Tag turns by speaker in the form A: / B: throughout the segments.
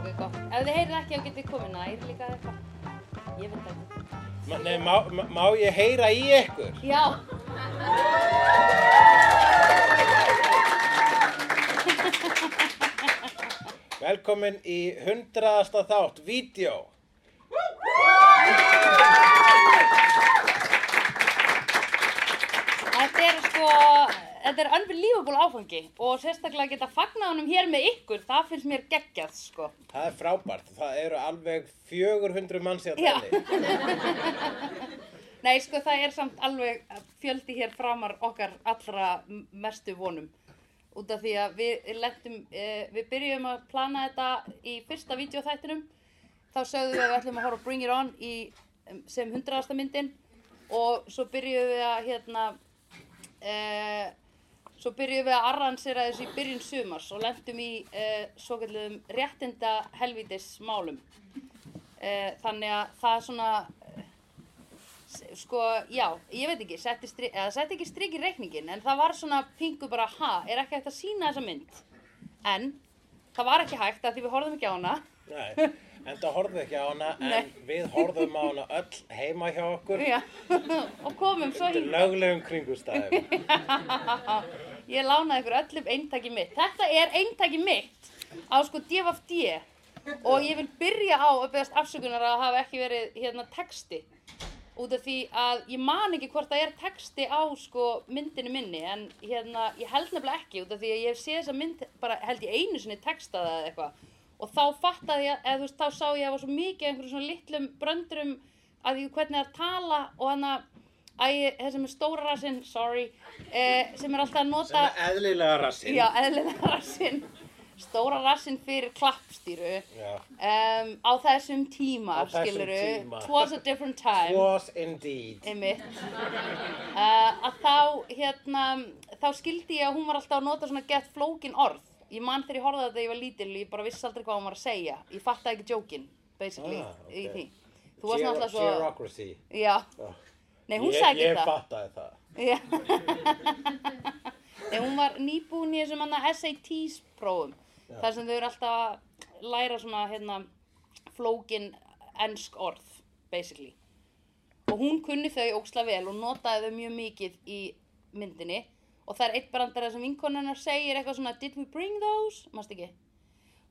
A: ef þið heyrið ekki þá getið komið nær líka eitthvað. Ég veit það ekki.
B: Ma- Nei, má, má- má ég heyra í ykkur?
A: Já.
B: Velkomin í hundraðasta þátt, vídeo.
A: Þetta er sko, þetta er unbelievable áfangi og sérstaklega að geta fagnað honum hér með ykkur, það finnst mér geggjað sko.
B: Það er frábært, það eru alveg 400 manns hérna í að
A: Já.
B: tali.
A: Nei, sko, það er samt alveg fjöldi hér framar okkar allra m- mestu vonum. Út af því að við lentum, eh, við byrjum að plana þetta í fyrsta videóþættinum. Þá sögðum við að við ætlum að horfa á Bring It On í, em, sem hundraðasta myndin og svo byrjum við að, hérna, eh, svo byrjum við að arransera þessu í byrjun sumars og lentum í eh, svo kallum réttinda helvítis málum. Eh, þannig að það er svona, S- sko, já, ég veit ekki, setti, strik, eða, setti ekki strik í reikningin, en það var svona pingu bara, ha, er ekki hægt að sína þessa mynd? En, það var ekki hægt að því við horfðum ekki á hana.
B: Nei, en það horfðu ekki á hana, en
A: Nei.
B: við horfðum á hana öll heima hjá okkur.
A: Já, og komum svo
B: Þetta er
A: hingað.
B: löglegum kringustæðum.
A: Ég lánaði ykkur öllum eintaki mitt. Þetta er eintaki mitt á sko DFD og ég vil byrja á að beðast afsökunar að það hafi ekki verið hérna texti út af því að ég man ekki hvort það er texti á sko myndinu minni en hérna ég held nefnilega ekki út af því að ég hef séð þessa mynd bara held ég einu sinni textaða eða eitthvað og þá fattaði ég, eða þú veist, þá sá ég að það var svo mikið af einhverjum svona litlum bröndurum að því hvernig það er tala og hann að Æ, þessi með stóra rassinn, sorry, eh, sem er alltaf að nota...
B: Sem er eðlilega rassinn.
A: Já, eðlilega rassinn, stóra rassinn fyrir klappstýru
B: Já.
A: um, á þessum tíma,
B: Á þessum
A: skiluru,
B: tíma.
A: twas a different time,
B: Was indeed.
A: einmitt, uh, að þá, hérna, þá skildi ég að hún var alltaf að nota svona gett flókin orð. Ég man þegar ég horfði að þetta þegar ég var lítil, ég bara vissi aldrei hvað hún var að segja. Ég fattaði ekki jókin, basically,
B: Ah, ok.
A: í því. Þú varst náttúrulega svo...
B: Gerocracy.
A: Já,
B: Já.
A: nei, hún
B: Ég-
A: sagði ekki
B: Ég
A: það.
B: fattaði það.
A: Já. Nei, hún var nýbúin í þessum hana SATs prófum.
B: Já.
A: Þar sem þau eru alltaf að læra svona hérna flókin ensk orð, basically. Og hún kunni þau óksla vel og notaði þau mjög mikið í myndinni. Og það er eitt brandara sem vinkonunnar segir eitthvað svona Did we bring those? Mást ekki?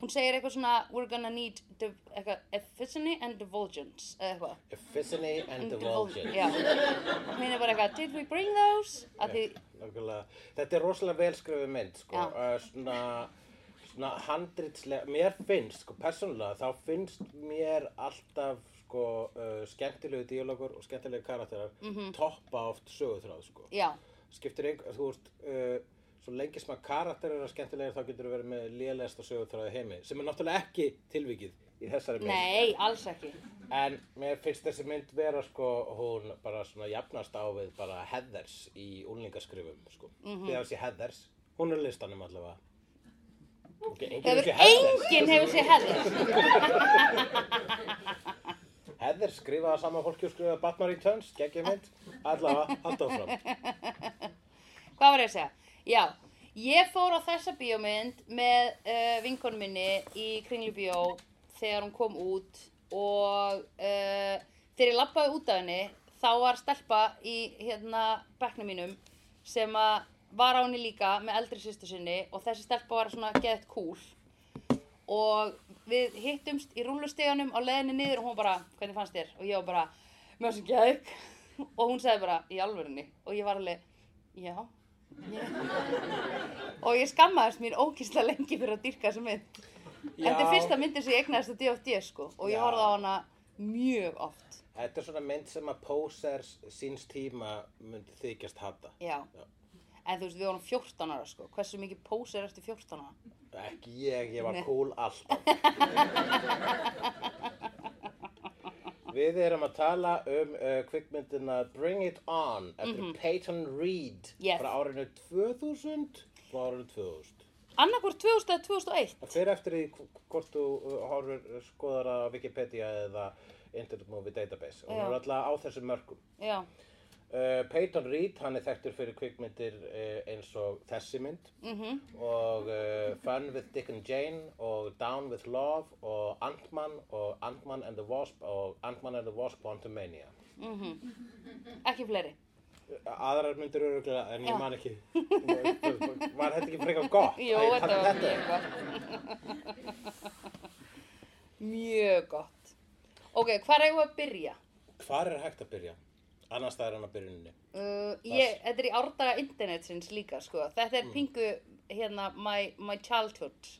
A: Hún segir eitthvað svona We're gonna need div- eitthvað, efficiency and divulgence eða eitthvað.
B: Epiphany and divulgence.
A: Já. Og hún er bara eitthvað Did we bring those? Að því
B: Nákvæmlega. Þetta er rosalega velskrifu mynd, sko.
A: Já.
B: Uh, svona, svona handritslega, mér finnst, sko, persónulega, þá finnst mér alltaf, sko, uh, skemmtilegu díalogur og skemmtilegu karakterar
A: Mhm.
B: toppa oft söguþráð, sko.
A: Já,
B: Skiptir einhver, þú veist, uh, svo lengi sem að karakterar eru skemmtilegir þá getur þú verið með lélegasta söguþráði heimi, sem er náttúrulega ekki tilvikið í þessari mynd.
A: nei, alls ekki.
B: En mér finnst þessi mynd vera sko, hún bara svona jafnast á við bara Heathers í úlingaskrifum sko. Mm -hmm. Þegar sé Heathers, hún er á listanum allavega. Okay, enginn
A: Hefur
B: sé Heathers.
A: enginn hefur séð Heathers.
B: Heathers skrifaði sama fólki og skrifaði Batman Returns, geggjum mynd, allavega, halda áfram.
A: Hvað var ég að segja? Já, ég fór á þessa bíómynd með uh, vinkonu minni í Kringlubíó þegar hún kom út og uh, þegar ég lappaði út af henni þá var stelpa í hérna bekknum mínum sem að var á henni líka með eldri sýstu sinni og þessi stelpa var svona gett cool og við hittumst í rúlusteganum á leiðinni niður og hún bara, hvernig fannst þér? Og ég var bara, mjög sem geðug og hún sagði bara, í alvörunni og ég var alveg, já ég. og ég skammaðist mín ókýrslega lengi fyrir að dyrka þessa mynd en þetta er
B: Já.
A: fyrsta myndin sem ég eignaðist að D.O.D. sko og ég
B: Já.
A: horfði á hana mjög oft
B: Þetta er svona mynd sem að posers síns tíma myndi þykjast hata.
A: já.
B: Já.
A: en þú veist, við vorum 14 ára sko hversu mikið pós er eftir 14 ára
B: Ekki ég, ég var
A: Nei.
B: cool alltaf. Við erum að tala um uh, kvikmyndina Bring It On eftir Peyton Reed
A: Mhm. Yes.
B: frá árinu 2000 frá árinu 2000.
A: annarkvort 2000 eða 2001
B: Það fer eftir því hv- hvort þú uh, horfir skoðar á Wikipedia eða Internet Movie Database. Hún
A: Já.
B: er alltaf á þessum mörgum.
A: já,
B: Uh, Peyton Reed, hann er þekktur fyrir kvikmyndir uh, eins og þessi mynd -hmm.
A: Mhm.
B: og uh, Fun with Dick and Jane og Down with Love og Ant-Man og Ant-Man and the Wasp og Ant-Man and the Wasp Quantumania.
A: Ekki fleiri.
B: Aðrar myndir öruglega en ég man ekki, var þetta ekki frekar gott?
A: Ah. Jú,
B: Æ,
A: þetta
B: þarna-
A: var mjög gott. mjög gott. Ok, hvar eigum við að byrja?
B: Hvar er hægt að byrja? Annars það er hann að byrjuninni.
A: Uh, ég, þetta er í árdaga internetsins líka sko. Þetta er pingu hérna my, my childhood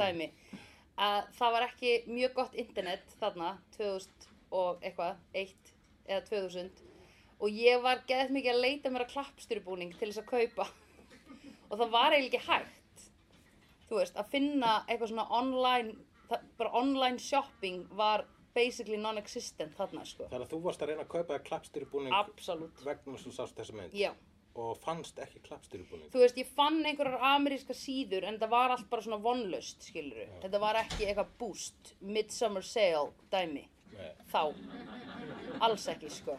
A: dæmi að það var ekki mjög gott internet þarna 2000 og eitthvað, 1 eða 2000 og ég var geðið mikið að leita mér að klappstyrubúning til þess að kaupa og það var eiginlega ekki hægt þú veist, að finna eitthvað svona online það, bara online shopping var basically non-existent þarna sko,
B: Þannig að þú varst að reyna að kaupa þér klappstýrubúning
A: absolutt
B: vegna sem sást þessa mynd
A: já
B: og fannst ekki klappstýrubúning.
A: þú veist, ég fann einhverjar ameríska síður en það var allt bara svona vonlaust, skilur við. Þetta var ekki eitthvað boost, midsummer sale dæmi,
B: Nei.
A: þá. Alls ekki, sko.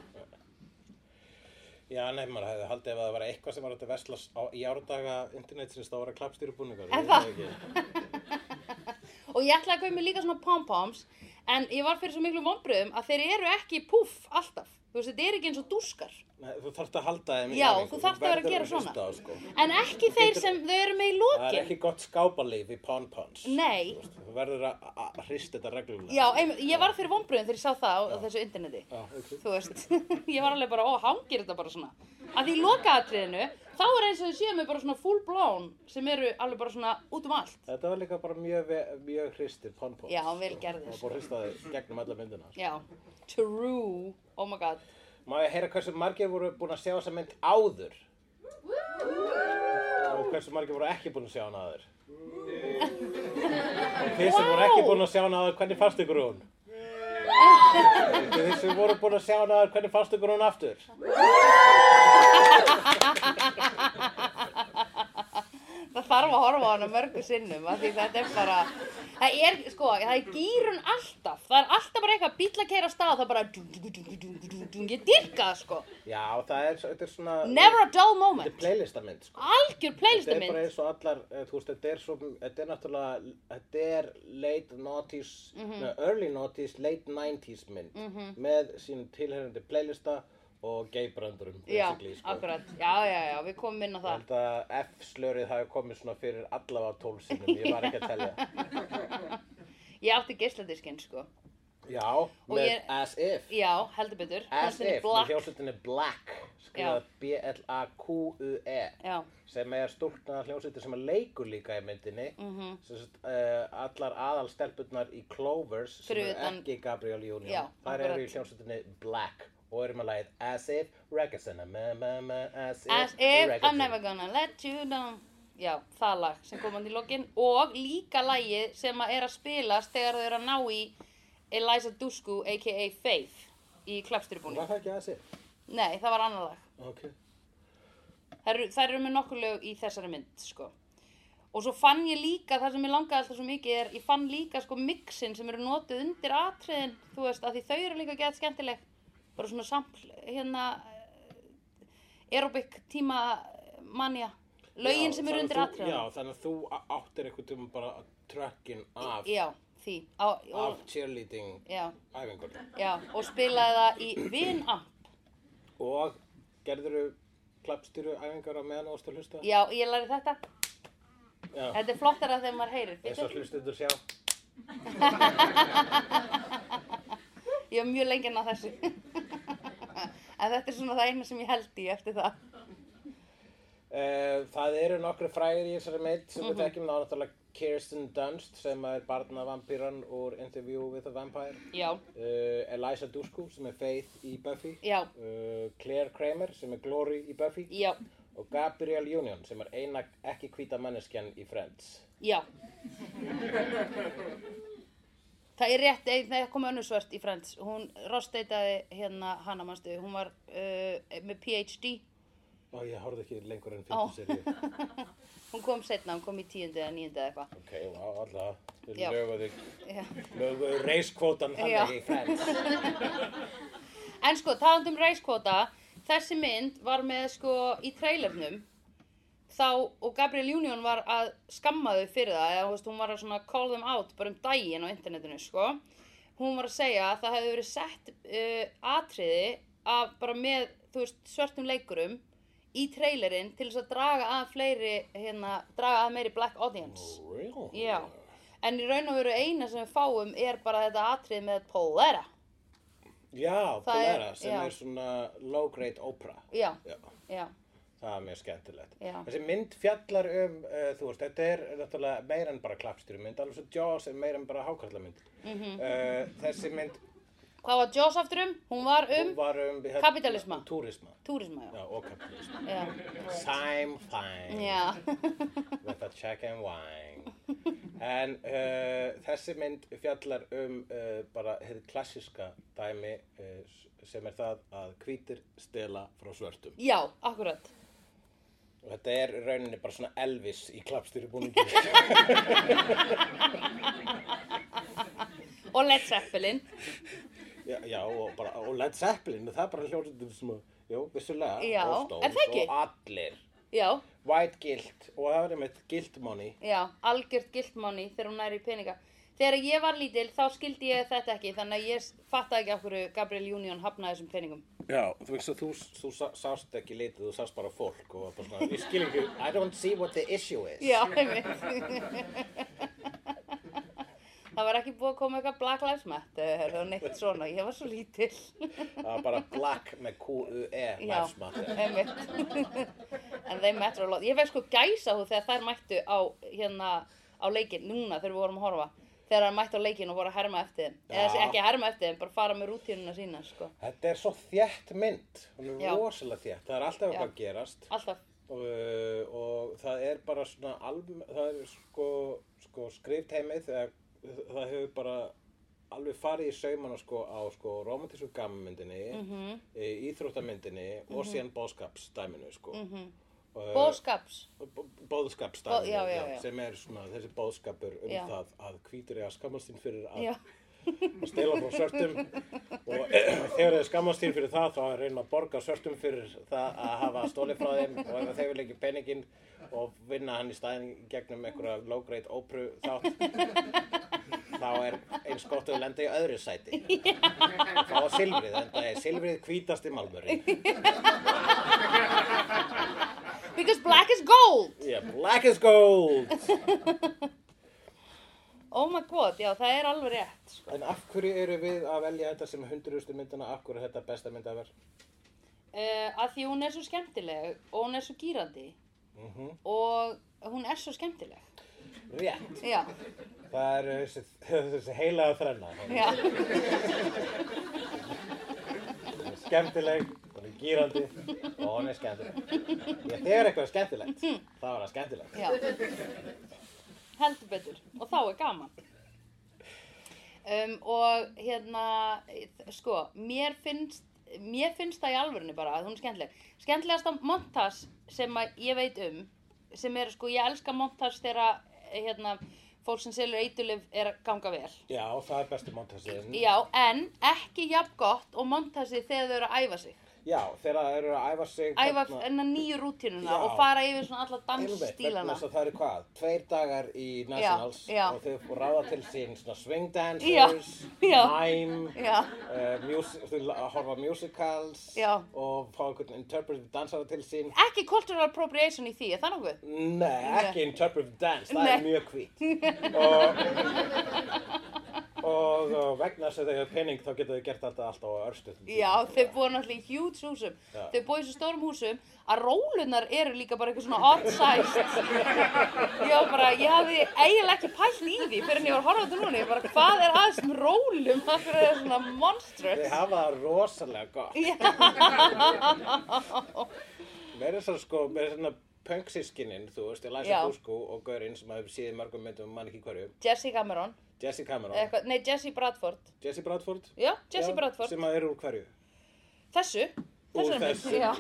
B: Já, nei, maður hefði haldið ef það var eitthvað sem var hægt að vesla á, í árdaga internetsins þá var það klappstýrubúningar.
A: Er
B: Ég
A: það?
B: veit ekki.
A: Og ég ætlaði að kaupa mér líka svona pom-poms, en ég var fyrir svo miklu vonbröðum að þeir eru ekki púff alltaf. Þú veist, þetta er ekki eins og dúskar.
B: Nei, þú þarft að halda þeim í
A: Já,
B: æfingu.
A: þú þarft að vera að
B: verður
A: gera svona.
B: hlusta á, sko.
A: En ekki þeir sem þau eru með í
B: Það er
A: lokin.
B: ekki gott skápalíf í pon-pons.
A: Nei.
B: Þú veist, þú verður að að hrista þetta reglulega.
A: Já, einmitt, ég var fyrir vonbröðum þegar ég sá það á, á þessu interneti.
B: Já, ok.
A: þú veist, ég var alveg bara, ó, hangir þetta bara svona. Að í lokaatriðinu, þá er eins og þau séu mig bara svona full blown sem eru alveg bara svona út um allt.
B: Þetta var líka bara mjög, ve- mjög hristir pon-pons.
A: Já, vel gerðir.
B: Það var bara hristaði gegnum alla myndina.
A: Já, true, oh my god.
B: Má ég heyra hversu margir voru búin að sjá þessa mynd áður? Og hversu margir voru ekki búin að sjá hana áður? Og þið sem voru ekki búin að sjá hana áður, hvernig fannst ykkur hún? Og Þið sem voru búin að sjá hana áður, hvernig fannst ykkur hún aftur?
A: Það þarf að horfa á hana mörgu sinnum, af því þetta er bara, það er, sko, það er gýrun alltaf. Það er alltaf bara eitthvað bíl að keira á stað, það er bara, dung, dung, dung, dung, dung, dung, ég dyrka það, sko.
B: Já, það er, þetta er svona...
A: Never a dull
B: Þetta er
A: moment.
B: playlistamind, sko.
A: Algjör
B: Þetta er bara
A: playlistamind.
B: eins og allar, eh, þú veist, þetta er svo, þetta er náttúrulega, þetta er late 90s, mm early 90s, late 90s mynd með sín tilherrandi playlista og geybrandurum,
A: Já,
B: basically, sko.
A: akkurat. Já, já, já, við komum inn á
B: Ég
A: það.
B: held að F-slörið hafi komið svona fyrir allavega tólsinnum, ég var ekki að tellja.
A: Ég átti geisladiskinn, sko.
B: Já, með
A: ég-
B: As If.
A: Já, heldur betur.
B: As
A: Hljómsveitin
B: If, með
A: Black.
B: hljómsveitinni Black,
A: Já.
B: skrifað B-L-A-Q-U-E.
A: Já,
B: sem er stúlkna hljómsveitir sem er leikur líka í myndinni mm -hmm.
A: Mhm.
B: sagt, uh, allar aðalstelpurnar í Clovers sem
A: Fyrir
B: eru
A: utan-
B: ekki Gabriel Union
A: Já,
B: þær
A: akkurat.
B: eru í hljómsveitinni Black og eru með lagið As If, Regasana ma, ma, ma, As If,
A: as if
B: Ragazana.
A: I'm never gonna let you down. Já, það lag sem kom hann í lokin og líka lagið sem að er að spilast þegar þau eru að ná í Eliza Dusku aka Faith í klapsturibúni.
B: Var það ekki As If?
A: Nei, það var annar lag.
B: Ok
A: Þær eru- þær eru með nokkur lög í þessari mynd, sko. Og svo fann ég líka, það sem ég langaði alltaf svo mikið er, ég fann líka sko mixin sem eru notuð undir atriðin, þú veist, að því þau eru líka gett skemmtileg. Bara svona sampl, hérna, eh, aerobic tíma manja. Lögin
B: Já,
A: sem eru
B: þannig
A: undir
B: að þú-
A: atriðin.
B: Já, þannig að þú á- áttir einhvern tíma bara trökkin af,
A: Já, því. Á, og,
B: af cheerleading
A: já,
B: æfingur
A: já, og spilaði það í Vinamp.
B: og gerðurðu klappstýru æfingar á meðan ástu að hlusta?
A: Já, ég lærði þetta.
B: Já.
A: Þetta er flottara þegar maður heyrir.
B: eins og hlustundur sjá
A: Ég var mjög lengi að ná þessu. en þetta er svona það eina sem ég held í eftir það.
B: Eh, Það eru nokkru frægir í þessari mynd sem
A: Mhm.
B: við þekkjum þá náttúrulega Kirsten Dunst sem er barnavampýran úr Interview with a Vampire
A: Já,
B: uh, Eliza Dushku sem er Faith í Buffy
A: já,
B: uh, Claire Kramer sem er Glory í Buffy
A: já,
B: og Gabrielle Union sem er eina ekki hvíta manneskjan í Friends
A: já. Það er rétt, ein- það kom önnur svört í Friends. Hún rostdeitaði hérna hana mannstu, hún var uh, með PhD.
B: og ég horfði ekki lengur en
A: Ó.
B: fyrstu serið
A: Hún kom setna, hún kom í tíundi eða níundi eða eitthvað.
B: ok, wow, alltaf við
A: Já.
B: löguðu
A: Já.
B: löguðu reiskvótan
A: Já.
B: hann í Friends
A: En sko, talandum reiskvota, um þessi mynd var með sko í trailernum þá og Gabriel Union var að skamma þau fyrir það eða þú veist, hún var að svona call them out bara um daginn á internetinu sko hún var að segja að það hefði verið sett uh, atriði af bara með þú veist svörtum leikurum í trailerinn til þess að draga að fleiri hérna, draga að meiri black audience
B: Real?
A: Já, en í raun og veru eina sem við fáum er bara þetta atrið með Polera.
B: Já,
A: Það er-
B: Polera, sem
A: já.
B: er svona low-grade opera.
A: Já,
B: Já.
A: já,
B: Það er mjög skemmtilegt.
A: Já.
B: Þessi mynd fjallar um, uh, þú veist, þetta er náttúrulega meira en bara klappstýrumynd, alveg svo Jaws er meira en bara hákarlamynd. Mm
A: Mhm.
B: -hmm. þessi mynd
A: hvað var Jaws aftur um? Hún var um
B: var um... hérna,
A: Kapítalisma.
B: Túrisma.
A: túrisma, já.
B: Já, og kapitalisma.
A: Já,
B: Sime fine.
A: já,
B: With a check and wine. En uh, þessi mynd fjallar um uh, bara hefði klassiska dæmi uh, sem er það að hvítir stela frá svörtum.
A: já, akkurat.
B: Og þetta er í rauninni bara svona Elvis í klappstýrubúningi.
A: Og Led Zeppelin.
B: já, já, og, bara, og Led Zeppelin, það er bara hljóðsveitin sem að, jú, vissulega,
A: Já,
B: og Stones
A: er það ekki?
B: og allir.
A: Já,
B: White Guilt, og það var einmitt Guilt Money.
A: já, algjört giltmáni þegar hún næri í peninga. Þegar ég var lítil þá skildi ég þetta ekki, þannig að ég fattaði ekki af hverju Gabriel Union hafnaði þessum peningum.
B: Já, þú veist að þú, þú sá- sást ekki litið, þú sást bara fólk og var bara svona, ég skil ekki, I don't see what the issue is.
A: Já, einmitt. Það var ekki búið að koma eitthvað Black Lives Matter og neitt svona, ég var svo lítil.
B: Það var bara black með E Q-U-E,
A: Já,
B: næfsmatt.
A: einmitt. En þeim matter a lot. Ég veið sko gæsa hú þegar þær mættu á, hérna, á leikinn, núna þegar við vorum að horfa. Þegar þær mættu á leikinn og voru að herma eftir þeim.
B: Já.
A: Eða þessi- ekki að herma eftir þeim, bara fara með rútínuna sína, sko.
B: Þetta er svo þétt mynd, hún er
A: Já.
B: rosalega þétt, það er alltaf
A: Já.
B: eitthvað að gerast
A: Alltaf.
B: og, eh, og það er bara svona, alm, það er sko, sko skrifteimið, þegar það hefur bara alveg farið í saumana sko á sko romantísku gammyndinni, mm
A: Mhm.
B: -hmm. íþróttamyndinni og síðan bóðskapsdæminu sko. Mm -hmm.
A: Bóskaps.
B: bóðskapstæðinu
A: Bó- Mhm. já, já, já.
B: sem er svona þessi bóðskapur um
A: Já.
B: það að hvítur er að skammast þín fyrir að
A: Já,
B: stela frá svörtum og eh, þegar þeir skammast þín fyrir það þá er reyna að borga svörtum fyrir það að hafa stólið frá þeim og ef þeir vil ekki peningin og vinna hann í staðin gegnum einhverja low-grade ópru þátt þá er eins gott að lenda í öðru sæti og fá silfrið en það er silfrið hvítasti malmurinn
A: because black is gold.
B: yeah, black is gold
A: Oh my god, já, það er alveg rétt, sko.
B: En af hverju eru við að velja þetta sem hundruðustu myndina, af hverju er þetta besta mynd að vera?
A: Uh, að því hún er svo skemmtileg og hún er svo gýrandi og hún er svo skemmtileg.
B: Rétt.
A: Já,
B: Það eru þessi, þessi heilaga þrenna.
A: já,
B: Hún er skemmtileg, hún er gýrandi og hún er skemmtileg. Já, þegar eitthvað er skemmtilegt,
A: Hmm.
B: þá er það skemmtilegt.
A: já. Heldur betur og þá er gaman. Um, og hérna, sko, mér finnst, mér finnst það í alvörinu bara að hún er skemmtileg. Skemmtilegasta montas sem að ég veit um, sem er sko, ég elska montas þegar hérna, fólk sem selur eitulif er að ganga vel.
B: Já, það er bestu montasinn.
A: Já, en ekki jafn gott og montasið þegar þau eru að æfa sig.
B: Já, þegar það eru að æfa sig... hérna,
A: Æfa
B: þarna-
A: hennar nýju rútínuna
B: Já.
A: og fara yfir svona alla
B: Einmitt, vegna
A: dansstílana.
B: þess að það eru hvað, tveir dagar í Nationals
A: Já, já.
B: og þau ráða til sín svona swing
A: Já,
B: dancers,
A: já.
B: mime,
A: Já,
B: uh, music, þau la- að horfa á musicals
A: Já.
B: og fá einhvern interpretive dansara til sín
A: ekki cultural appropriation í því, er það nokkuð?
B: Nei, ekki interpretive dance, það er
A: Nei.
B: mjög hvít og, og, og vegna þess að þau hefur pening þá geta þau gert þetta alltaf á örstuðum
A: Já, þau búið náttúrulega í huge húsum.
B: Já.
A: Þau búið í svo stórum húsum að rólunar eru líka bara eitthvað svona odd-sized. Ég var bara, ég hafði eiginlega ekki pælt í því fyrir en ég var að horfa á þetta núna. Ég bara, hvað er aðeins um rólum? Það fyrir það svona monstrous.
B: Þau hafa það rosalega gott Mér er svo sko, mér er svona punksískinin, þú veist, Eliza
A: Já.
B: Dusko og Gaurinn sem hafði séð í mörgum myndum, mann ekki hverju
A: Jesse Cameron,
B: Jesse Cameron,
A: eitthvað, nei, Jesse Bradford.
B: Jesse Bradford
A: Já, Eh. Jesse
B: Já,
A: Bradford.
B: sem að eru úr hverju
A: Þessu?
B: Úr
A: Þessari mynd?
B: þessu.
A: Já,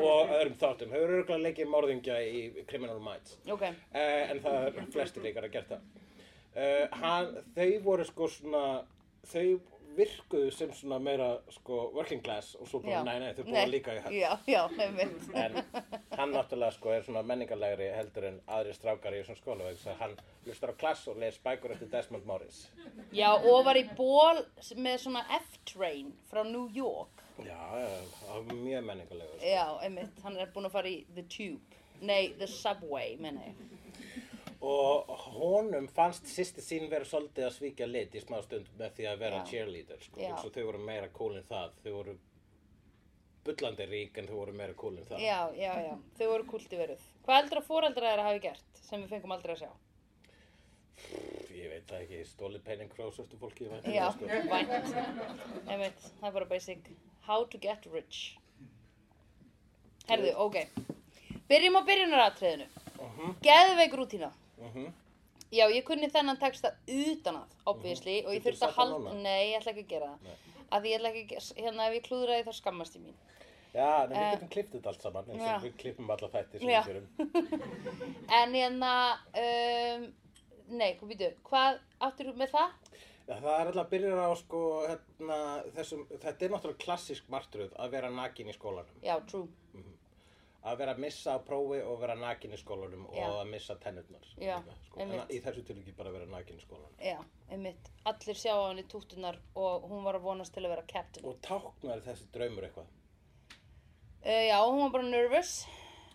B: og öðrum þáttum, hefur örgulega leikið morðingja í Criminal Minds
A: ok.
B: uh, en það Eh, er flestir leikar að gert það uh, hann, þau voru sko svona þau virkuðu sem svona meira sko, working class og svo bara
A: Já.
B: nei, nei, þau búa
A: Nei,
B: líka í höll.
A: Já, já, einmitt.
B: En hann náttúrulega sko er svona menningarlegri heldur en aðri strákar í þessum skóla vegna þess að hann hlustar á klass og les bækur eftir Desmond Morris.
A: Já, og var í ból með svona F-train frá New York.
B: Já, já, það var mjög menningarlegur. Sko.
A: Já, einmitt, hann er búinn að fara í The Tube. Nei, The Subway, menna ég.
B: Og honum fannst sýsti sín vera svolítið að svíkja lit í smá stund með því að vera
A: Já.
B: cheerleader sko.
A: Já.
B: Svo þau voru meira cool en það. Þau voru bullandi rík en þau voru meira cool en það.
A: Já, já, já, þau voru kulti verið. Hvað heldur að fóreldra þeirra hafi gert sem við fengum aldrei að sjá?
B: Ég veit það ekki, stólið penning frá svörtu fólki. ég veit
A: Já,
B: það, sko.
A: vænt. Einmitt, það er bara basic. How to get rich. Herðu, ok. Byrjum á byrjunaratriðinu. Uh -huh. Geðveik rútína.
B: Mhm.
A: Já, ég kunni þennan texta utan að, obviously, og ég
B: Geturðu
A: þurfti að
B: Mhm. sagt það
A: halda...
B: núna?
A: Nei, ég ætla ekki að gera það.
B: Nei.
A: Af því ég ætla ekki, að- hérna, ef ég klúðraði þá skammast ég mín.
B: Já, en við
A: Eh,
B: getum klipptið þetta allt saman eins
A: já.
B: og við klippum alla þætti sem
A: Já.
B: við gerum.
A: En hérna, um, nei, hvað býtu, hvað áttur með það?
B: Já, það er alltaf að byrja á sko, hérna, þessum, þetta er náttúrulega klassísk martröð að vera nakin í skólanum.
A: Já, true,
B: Að vera að missa á prófi og vera nakin í skólanum
A: Já.
B: og að missa tennurnar.
A: Já,
B: líka, sko. En
A: einmitt.
B: í þessu tilviki bara að vera nakin í skólanum.
A: já, einmitt. Allir sjá á henni tútunar og hún var að vonast til að vera captain.
B: Og táknar þessi draumur eitthvað.
A: Uh, já, hún var bara nervous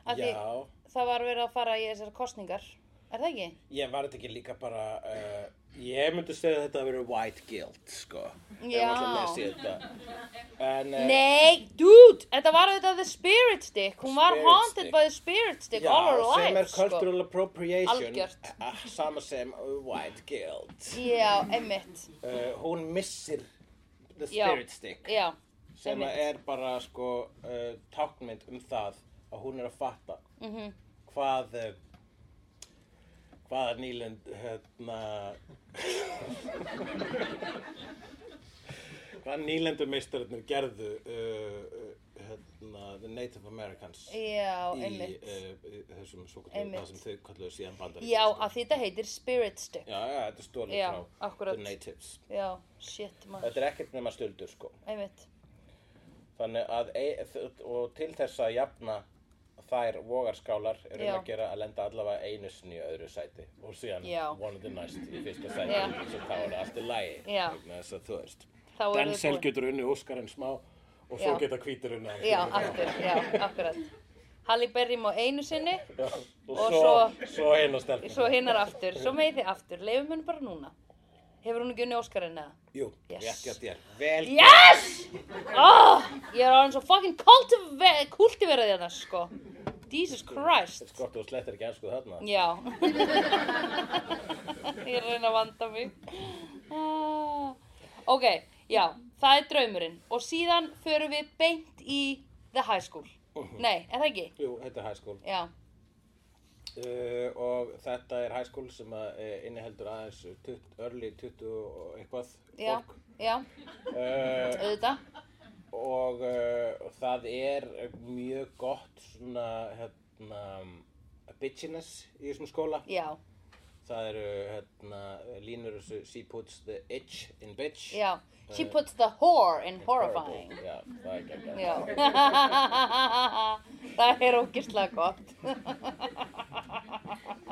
A: að því
B: Já,
A: það var verið að fara í þessar kostningar. Er það ekki?
B: ég var þetta ekki líka bara, uh, ég myndi segja að þetta að vera white guilt, sko. Ef
A: Já.
B: maður ætlar að lesa í þetta. En, eh,
A: Nei, dude, þetta var auðvitað The Spirit Stick. Hún var
B: Spirit
A: haunted
B: Stick.
A: by The Spirit Stick
B: Já,
A: all her life.
B: sem er
A: sko.
B: cultural appropriation,
A: Algjört.
B: eh, sama sem eh, white guilt.
A: Já, einmitt.
B: uh, hún missir the
A: Já.
B: spirit stick
A: Já,
B: sem
A: einmitt.
B: er bara sko uh, táknmynd um það að hún er að fatta
A: Mhm.
B: hvað uh, hvaða nýlend hérna hvaða nýlendu meistararnir gerðu uh, uh, hérna, the Native Americans
A: já,
B: í
A: einmitt.
B: uh, í þessum svo
A: Einmitt.
B: það sem þau kalluðu síðan bandar
A: já, að því þetta heitir Spirit Stick.
B: já, já, þetta er stólið
A: Já,
B: frá
A: akkurat.
B: the natives
A: Já, shit, maður.
B: þetta er ekkert nema stöldur sko
A: Einmitt.
B: Þannig að e þ- og til þess að jafna þær vogarskálar er um
A: Já.
B: að gera að lenda allavega einu sinni í öðru sæti og síðan
A: Já.
B: vonandi næst í fyrsta sæti
A: Já.
B: eins og þá er allt í lagi
A: Já.
B: vegna þess að þú veist
A: Þá eru þau
B: Denzel
A: búin.
B: getur unni Óskarinn smá og svo
A: Já.
B: geta hvítur unni
A: Já, aftur, já, akkurat. Halli Berrimo einu sinni,
B: og,
A: Og
B: svo,
A: svo-
B: svo hinn og stelpun
A: svo hinnar aftur, svo meði aftur. Leifum henni bara núna. Hefur hún ekki unni Óskarinn eða?
B: Jú,
A: Yes.
B: rétt hjá þér Vel
A: Yes! Oh, ég er orðin svo fucking cultiva- kultiverað hérna, sko. Jesus Christ.
B: Gott og slettir ekki ennsku þarna
A: Já. ég er að reyna að vanda mig. Ah. Ok, já, það er draumurinn. Og síðan förum við beint í the high school.
B: Uh-huh.
A: Nei, er það ekki?
B: Jú, þetta er high school
A: Já,
B: Uh, og þetta er high school sem að eh, inniheldur aðeins tutt, örli 20 og eitthvað
A: já,
B: fólk
A: já,
B: uh,
A: auðvitað.
B: og uh, það er mjög gott svona hérna, bitchiness í þessum skóla
A: Já,
B: það eru hérna, línur þessu she puts the itch in bitch
A: já. She puts the whore in horrifying.
B: Horrible. já, það er ekki ekki
A: Já. það er ógislega gott.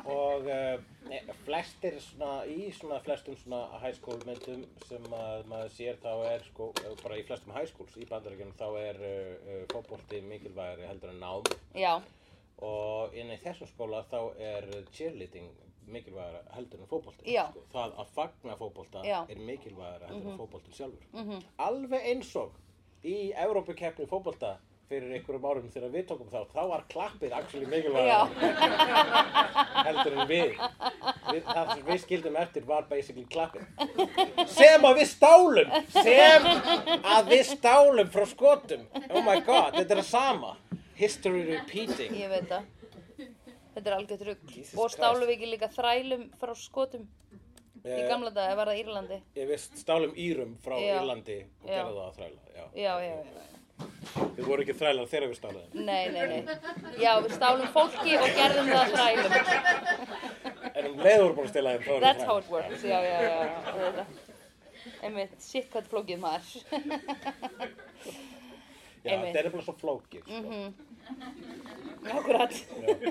B: og uh, e, flestir svona, í svona flestum svona high school myndum sem að maður sér þá er sko, eh, bara í flestum high schools í bandaríkjunum þá er uh, uh, fótbolti mikilvægari heldur en nám
A: Já,
B: og inn í þessum skóla þá er cheerleading mikilvægara heldur en fótbolti
A: Já.
B: það að fagna fótbolta
A: Já. Mhm.
B: er mikilvægara heldur en fótboltin sjálfur -hmm. alveg eins og í Evrópukeppni fótbolta fyrir einhverjum árum þegar við tókum þá þá var klappið actually mikilvægara
A: já,
B: heldur en við. við það sem við skildum eftir var basically klappið sem að við stálum sem að við stálum frá skotum oh my god, þetta er það sama history repeating
A: ég veit það. Þetta er algjört rugg.
B: Jesus
A: Og
B: Christ.
A: stálu við ekki líka þrælum frá skotum í
B: Eh,
A: gamla daga, var það Írlandi?
B: ég veist stálum Írum frá
A: Já.
B: Írlandi og
A: Já.
B: gerði það að þræla já.
A: Já, já, já.
B: við vorum ekki þrælar þegar við stálum
A: Nei, nei, nei. Já, við stálum fólki og gerðum það að þrælum.
B: en um leiður búin að stela þeim þá erum við
A: That's how
B: þrælar.
A: it works, já, já, já. já, auðvitað. einmitt, shit hvað þetta er flókið maður.
B: Já,
A: Einmitt. Mhm,
B: þetta er bara svo flókið, sko.
A: Akkurat.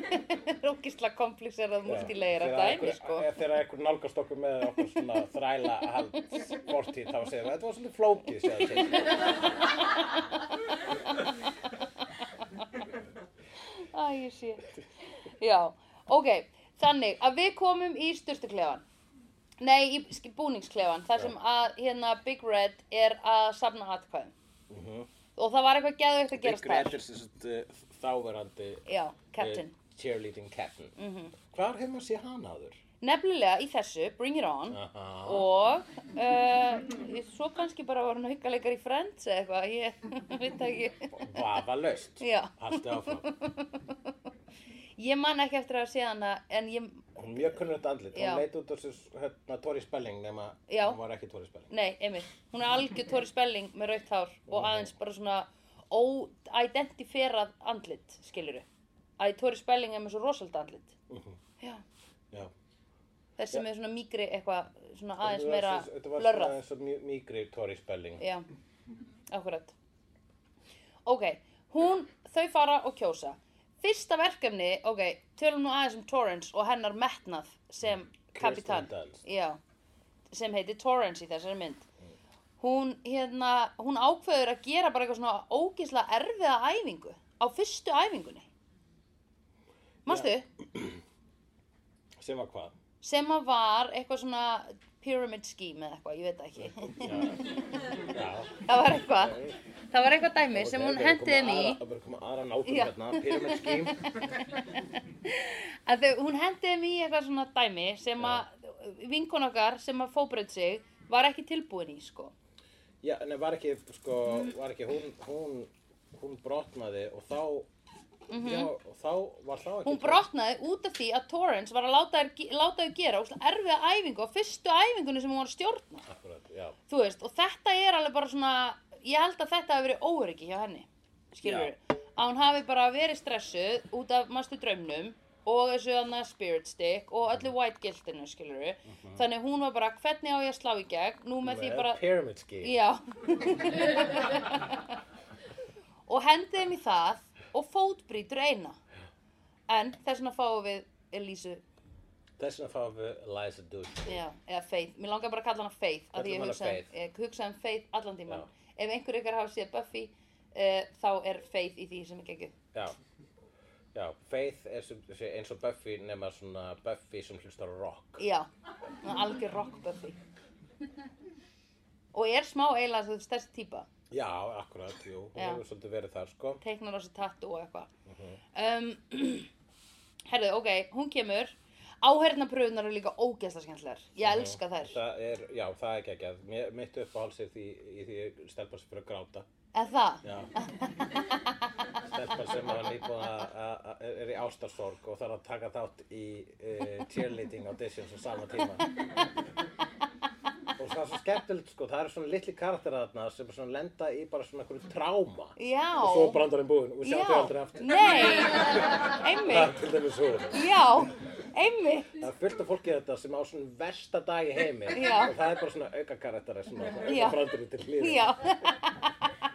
A: Rókislega komplexerað multilayer af
B: Þegar
A: dæmi,
B: einhver-
A: sko.
B: ef- Þegar einhver nálgast okkur með okkur svona þræla hald fortíð þá segir það, þetta var svolítið flókið, segir það.
A: Æ, ég sé. Já, ok, þannig að við komum í sturtuklefan. Nei, í sk- búningsklefan, þar sem að hérna Big Red er að safna atkvæðum. Og það var eitthvað geðveikt að gerast
B: Mhm. Big Red
A: þar.
B: er sem sagt, eh, þáverandi
A: Já,
B: eh,
A: Captain. Mhm.
B: cheerleading captain. Mm -hmm. Hvar hefur maður séð hann áður?
A: Nefnilega í þessu, Bring It On,
B: Aha.
A: og uh, svo kannski bara var hann aukaleikar í Friends eða eitthvað, ég veit það ekki.
B: Vafa löst.
A: Já.
B: Haltu áfram.
A: Ég man ekki eftir að sé hana, en ég,
B: Hún er mjög kunnult andlit.
A: Já.
B: Hún leit út á þessu hérna, Tori Spelling nema
A: Já.
B: hún var ekki Tori Spelling.
A: nei, einmitt, hún er algjör Tori Spelling með rautt hár og aðeins bara svona óidentiferað andlit, skilurðu. Að Tori Spelling er með svo rosald andlit.
B: Mhm.
A: Já,
B: Já.
A: þessi með svona mýgri eitthvað, svona aðeins
B: Þetta var
A: meira
B: svo- Þetta var svona
A: blörrað.
B: eins og mjög mýgri Tori Spelling.
A: Já, akkurat. Ok, hún, þau fara og kjósa. Fyrsta verkefni, ok, tölum nú aðeins um Torrance og hennar metnað sem kapitan.
B: Kirsten Dunst.
A: Já, sem heitir Torrance í þessari mynd. Hún, hérna, hún ákveður að gera bara eitthvað svona ógisla erfiða æfingu á fyrstu æfingunni. Manstu?
B: Sem var hvað?
A: Sem að var eitthvað svona pyramid scheme eða eitthvað, ég veit það ekki.
B: Já.
A: Það var eitthvað, það var eitthvað dæmi sem
B: Ok,
A: hún
B: við erum
A: hendiði
B: komin
A: mig í.
B: aðra- Það verður koma aðra nákvæm
A: Já.
B: hérna, pyramid scheme.
A: að þau, hún hendiði mig í eitthvað svona dæmi sem að vinkon okkar sem að fóbröð sig var ekki tilbúin í sko
B: Já, en var ekki, sko, var ekki, hún, hún, hún brotnaði og þá, já, og þá var þá ekki.
A: Mhm. hún brotnaði út af því að Torrance var að láta, þær, ge- láta þau gera óslega erfiða æfingu á fyrstu æfingunni sem hún var að stjórna
B: Akkurat, já.
A: þú veist, og þetta er alveg bara svona ég held að þetta hafi verið óöryggi hjá henni skilur að hún hafi bara verið stressuð út af mastu draumnum og þessu annað spirit stick og öllu white guiltinu skilur þannig hún var bara hvernig á ég að slá í gegn nú með því bara
B: Pyramid scheme.
A: Já Og hendi þeim í það og fótbrýtur eina En þess vegna fáum við Elísu,
B: Þess vegna fáum við Liza Dushku.
A: já, eða Faith Mér langar bara að kalla hana Faith af Því
B: Kallum
A: ég
B: hana
A: hugsaði
B: Faith.
A: ég hugsaði um Faith allan tímann
B: Já.
A: Ef einhver ykkar hafa séð Buffy uh, Þá er Faith í því sem ekki ekki
B: Já. Já, Faith er sem, sé eins og Buffy nema svona Buffy sem hlustar á rock.
A: Já, hún er algjör rock Buffy Og er smá eiginlega þessi stærst típa
B: Já, akkurat, jú, hún
A: Já.
B: hefur svolítið verið þar, sko.
A: teiknar á sig tattu og eitthvað
B: Mhm.
A: um, herðu, ok, hún kemur áhernapröfunar eru líka ógeðslega skemmtilegar ég
B: Mhm.
A: elska þær,
B: Það er, já, það er ekki ekki. Mitt uppáhals er því, í því stelpa sem fyrir að gráta.
A: en það
B: Já. Stelpa sem var nýbúin að- að að- er í ástarsorg og þarf að taka þátt í uh, cheerleading auditions á sama tíma. Og það er svo skemmtilegt sko, það eru svona litli karakterar þarna sem svona lenda í bara svona einhverju tráma.
A: já,
B: Og svo brandar þeim búinn og sjá þau aldrei
A: já,
B: aftur.
A: nei
B: Það er
A: einmitt,
B: til dæmis hún.
A: já einmitt,
B: Það er fullt af fólki þetta sem á svona versta dag í heimi
A: Já.
B: og það er bara svona auka karakterar sem að
A: Já.
B: auka brandur til hliðin.
A: já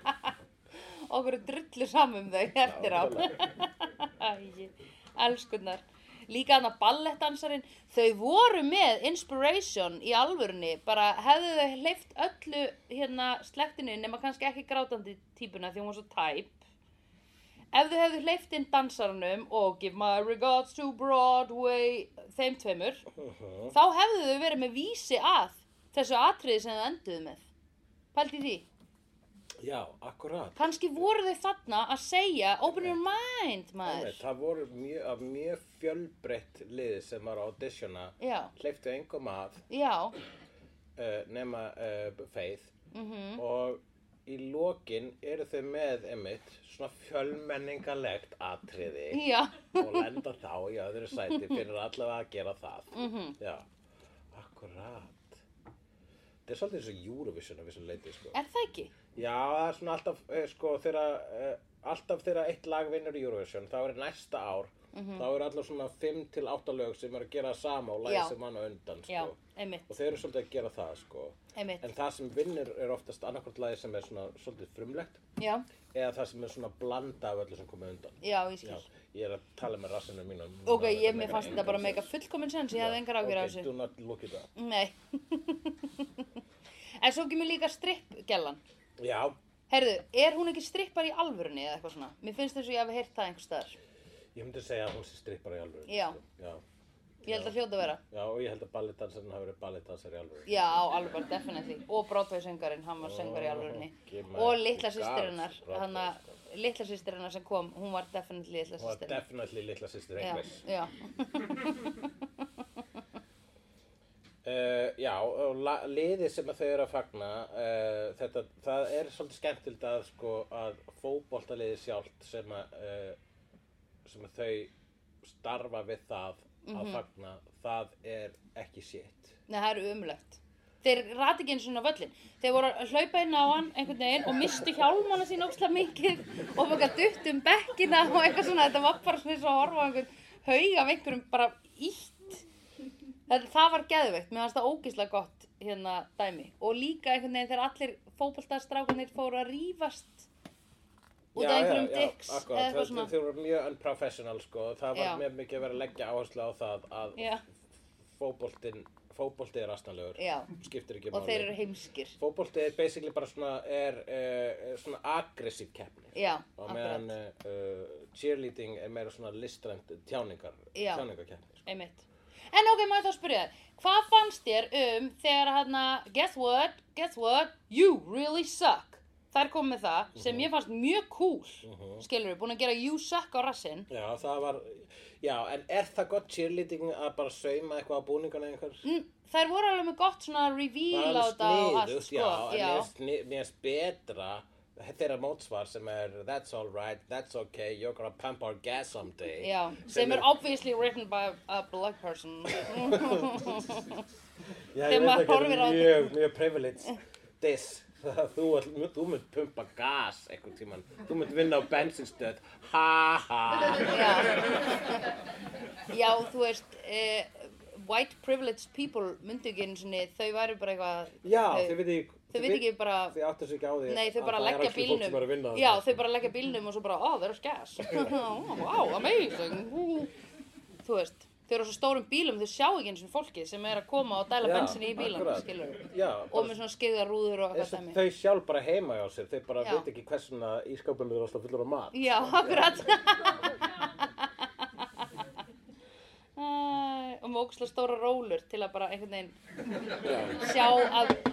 A: okkur er drullu saman um þau eftir á Æi, elskunnar Líka þarna ballettdansarinn, þau voru með inspiration í alvörunni, bara hefðu þau hleyft öllu hérna slektinu nema kannski ekki grátandi típuna því hún var svo tæp. Ef þau hefðu hleyft inn dansaranum og give my regards to Broadway, þeim tveimur, þá hefðu þau verið með vísi að þessu atriði sem þau enduðu með. Pældi því.
B: Já, akkurat.
A: Kannski voru þau þarna að segja open your mind, maður.
B: Einmitt, það voru mjög, af mjög fjölbreytt lið sem var að auditiona
A: Já,
B: hleyftu engum að
A: já.
B: uh, nema uh, Faith
A: Mhm.
B: og í lokin eru þau með einmitt svona fjölmenningalegt atriði
A: Já,
B: og lenda þá í öðru sæti fyrir allavega að gera það -hmm.
A: Mhm.
B: Já, akkurat Þetta er svolítið eins og Eurovision af þessu leiti sko
A: er það ekki?
B: Já, það er svona alltaf, eh, sko, þegar, eh, alltaf þegar eitt lag vinnur Eurovision, þá er næsta ár,
A: Mhm.
B: þá eru allar svona 5 til 8 lög sem eru að gera það sama og
A: Já.
B: lagi sem hann á undan, sko.
A: Já, einmitt.
B: Og þeir eru svolítið að gera það, sko.
A: Einmitt.
B: En það sem vinnur er oftast annarkvort lagi sem er svona svolítið frumlegt
A: já,
B: eða það sem er svona blanda af öllu sem komið undan.
A: já, ég
B: Já,
A: skil.
B: ég er að tala með rassinu mínum.
A: Ok,
B: Núna,
A: ég,
B: þetta
A: mér
B: meikar
A: fannst þetta
B: engan
A: bara
B: sens.
A: meika fullkominn sens, ég hafði
B: Já,
A: engar ágjur af
B: Ok, do
A: þessu.
B: not look it up.
A: Nei. en svo kemur líka strippgellan.
B: Já,
A: Herðu, er hún ekki strippar í alvörunni eða eitthvað svona? Mér finnst þess að ég hafi heyrt það einhver staðar.
B: ég myndi segja að hún sé strippar í alvöru.
A: Já.
B: Já,
A: Ég held að hljóta að vera.
B: já og ég held að balletdansarinn hafi verið balletdansar í alvöru.
A: Já, alveg bara definitely. Og Broadway-söngarinn, hann var söngar í alvörunni.
B: Ok, maður.
A: Og litla
B: Þú gafst
A: sýstirinnar,
B: Broadway,
A: hann að litla sýstirinnar sem kom, hún var definitely litla
B: Hún var
A: sýstirinnar.
B: definitely litla sýstir
A: Já,
B: einhvers.
A: já,
B: Uh, já, og la- liðið sem að þau eru að fagna, uh, þetta, það er svolítið skemmtild að, sko, að fótboltaliðið sjálft sem að, uh, sem að þau starfa við það
A: Mhm.
B: að fagna, það er ekki sitt.
A: Nei, það eru umlegt. Þeir rati ekki eins og völlin. Þeir voru að hlaupa inn á hann einhvern veginn og mistu hjálmana sín ókslega mikið og bara dutt um bekkina og eitthvað svona. Þetta var bara svona eins og að horfa á einhvern haug af einhverjum bara ítt. Það, það var geðveikt. Mér fannst það ógeðslega gott hérna dæmi. Og líka einhvern veginn þegar allir fótboltastrákunir fóru að rífast út af einhverjum dicks eða
B: eða
A: eitthvað svona.
B: Þau voru mjög unprofessional, sko, það var
A: Já.
B: mjög mikið að vera að leggja áherslu á það að
A: Já,
B: fótboltin, fótbolti er astanlegur,
A: já.
B: skiptir ekki
A: Og þeir eru heimskir.
B: Fótbolti er basically bara svona, er, uh, svona aggressiv keppni.
A: Já,
B: Og
A: akkurat.
B: meðan uh, cheerleading er meira svona listrænt tjáningar,
A: Já.
B: tjáningarkenni. Sko.
A: Einmitt. En ok, maður þá spyrja þér, hvað fannst þér um þegar hérna, guess what, guess what, you really suck. Þær kom með það
B: Mhm.
A: sem ég fannst mjög cool, mm -hmm. skilur við, búin að gera you suck á rassinn.
B: Já, það var, já, en er það gott cheerleading að bara sauma eitthvað á búningana einhver?
A: Mm, Þær voru alveg með gott svona reveal á þetta og allt,
B: sniðugt,
A: sko.
B: já, en mér finnst sni- mér finnst betra þeirra mótsvar sem er that's alright, that's okay, you're gonna pump our gas someday.
A: já, sem er obviously written by a black person.
B: Já, ég
A: Þegar
B: veit
A: maður
B: ekki,
A: horfir á
B: þetta er mjög, mjög privilege diss. þú, all, þú mynd pumpa gas einhvern tíman. Þú mynd vinna á bensinstöð. Ha ha.
A: já. já, þú veist, eh, white privileged people myndu ekki einu sinni, þau væru bara eitthvað...
B: Já,
A: þau-
B: þau veit ekki.
A: Þau veit ekki bara,
B: Þau áttu sig ekki á því.
A: nei þau
B: að það
A: bara
B: er
A: leggja
B: actually fólk sem er að
A: bílnum
B: vinna
A: Já,
B: þarna.
A: þau bara leggja bílnum og svo bara, ó, þeir eru skæs Wow, amazing Þú veist, þau eru á svo stórum bílum þau sjá ekki eins og fólkið sem er að koma og dæla
B: Já,
A: bensinni í bílum,
B: akkurat.
A: skilur
B: Já,
A: og með svona skeiðar rúður og
B: eins og
A: hvað dæmi
B: þau sjálf bara heima hjá sér. Þau bara
A: Já.
B: veit ekki hversuna ískápunum er alltaf fullur af mat.
A: Já, akkurat Æ, Og með ógustlega stóra rólur til að bara einhvern veginn sjá að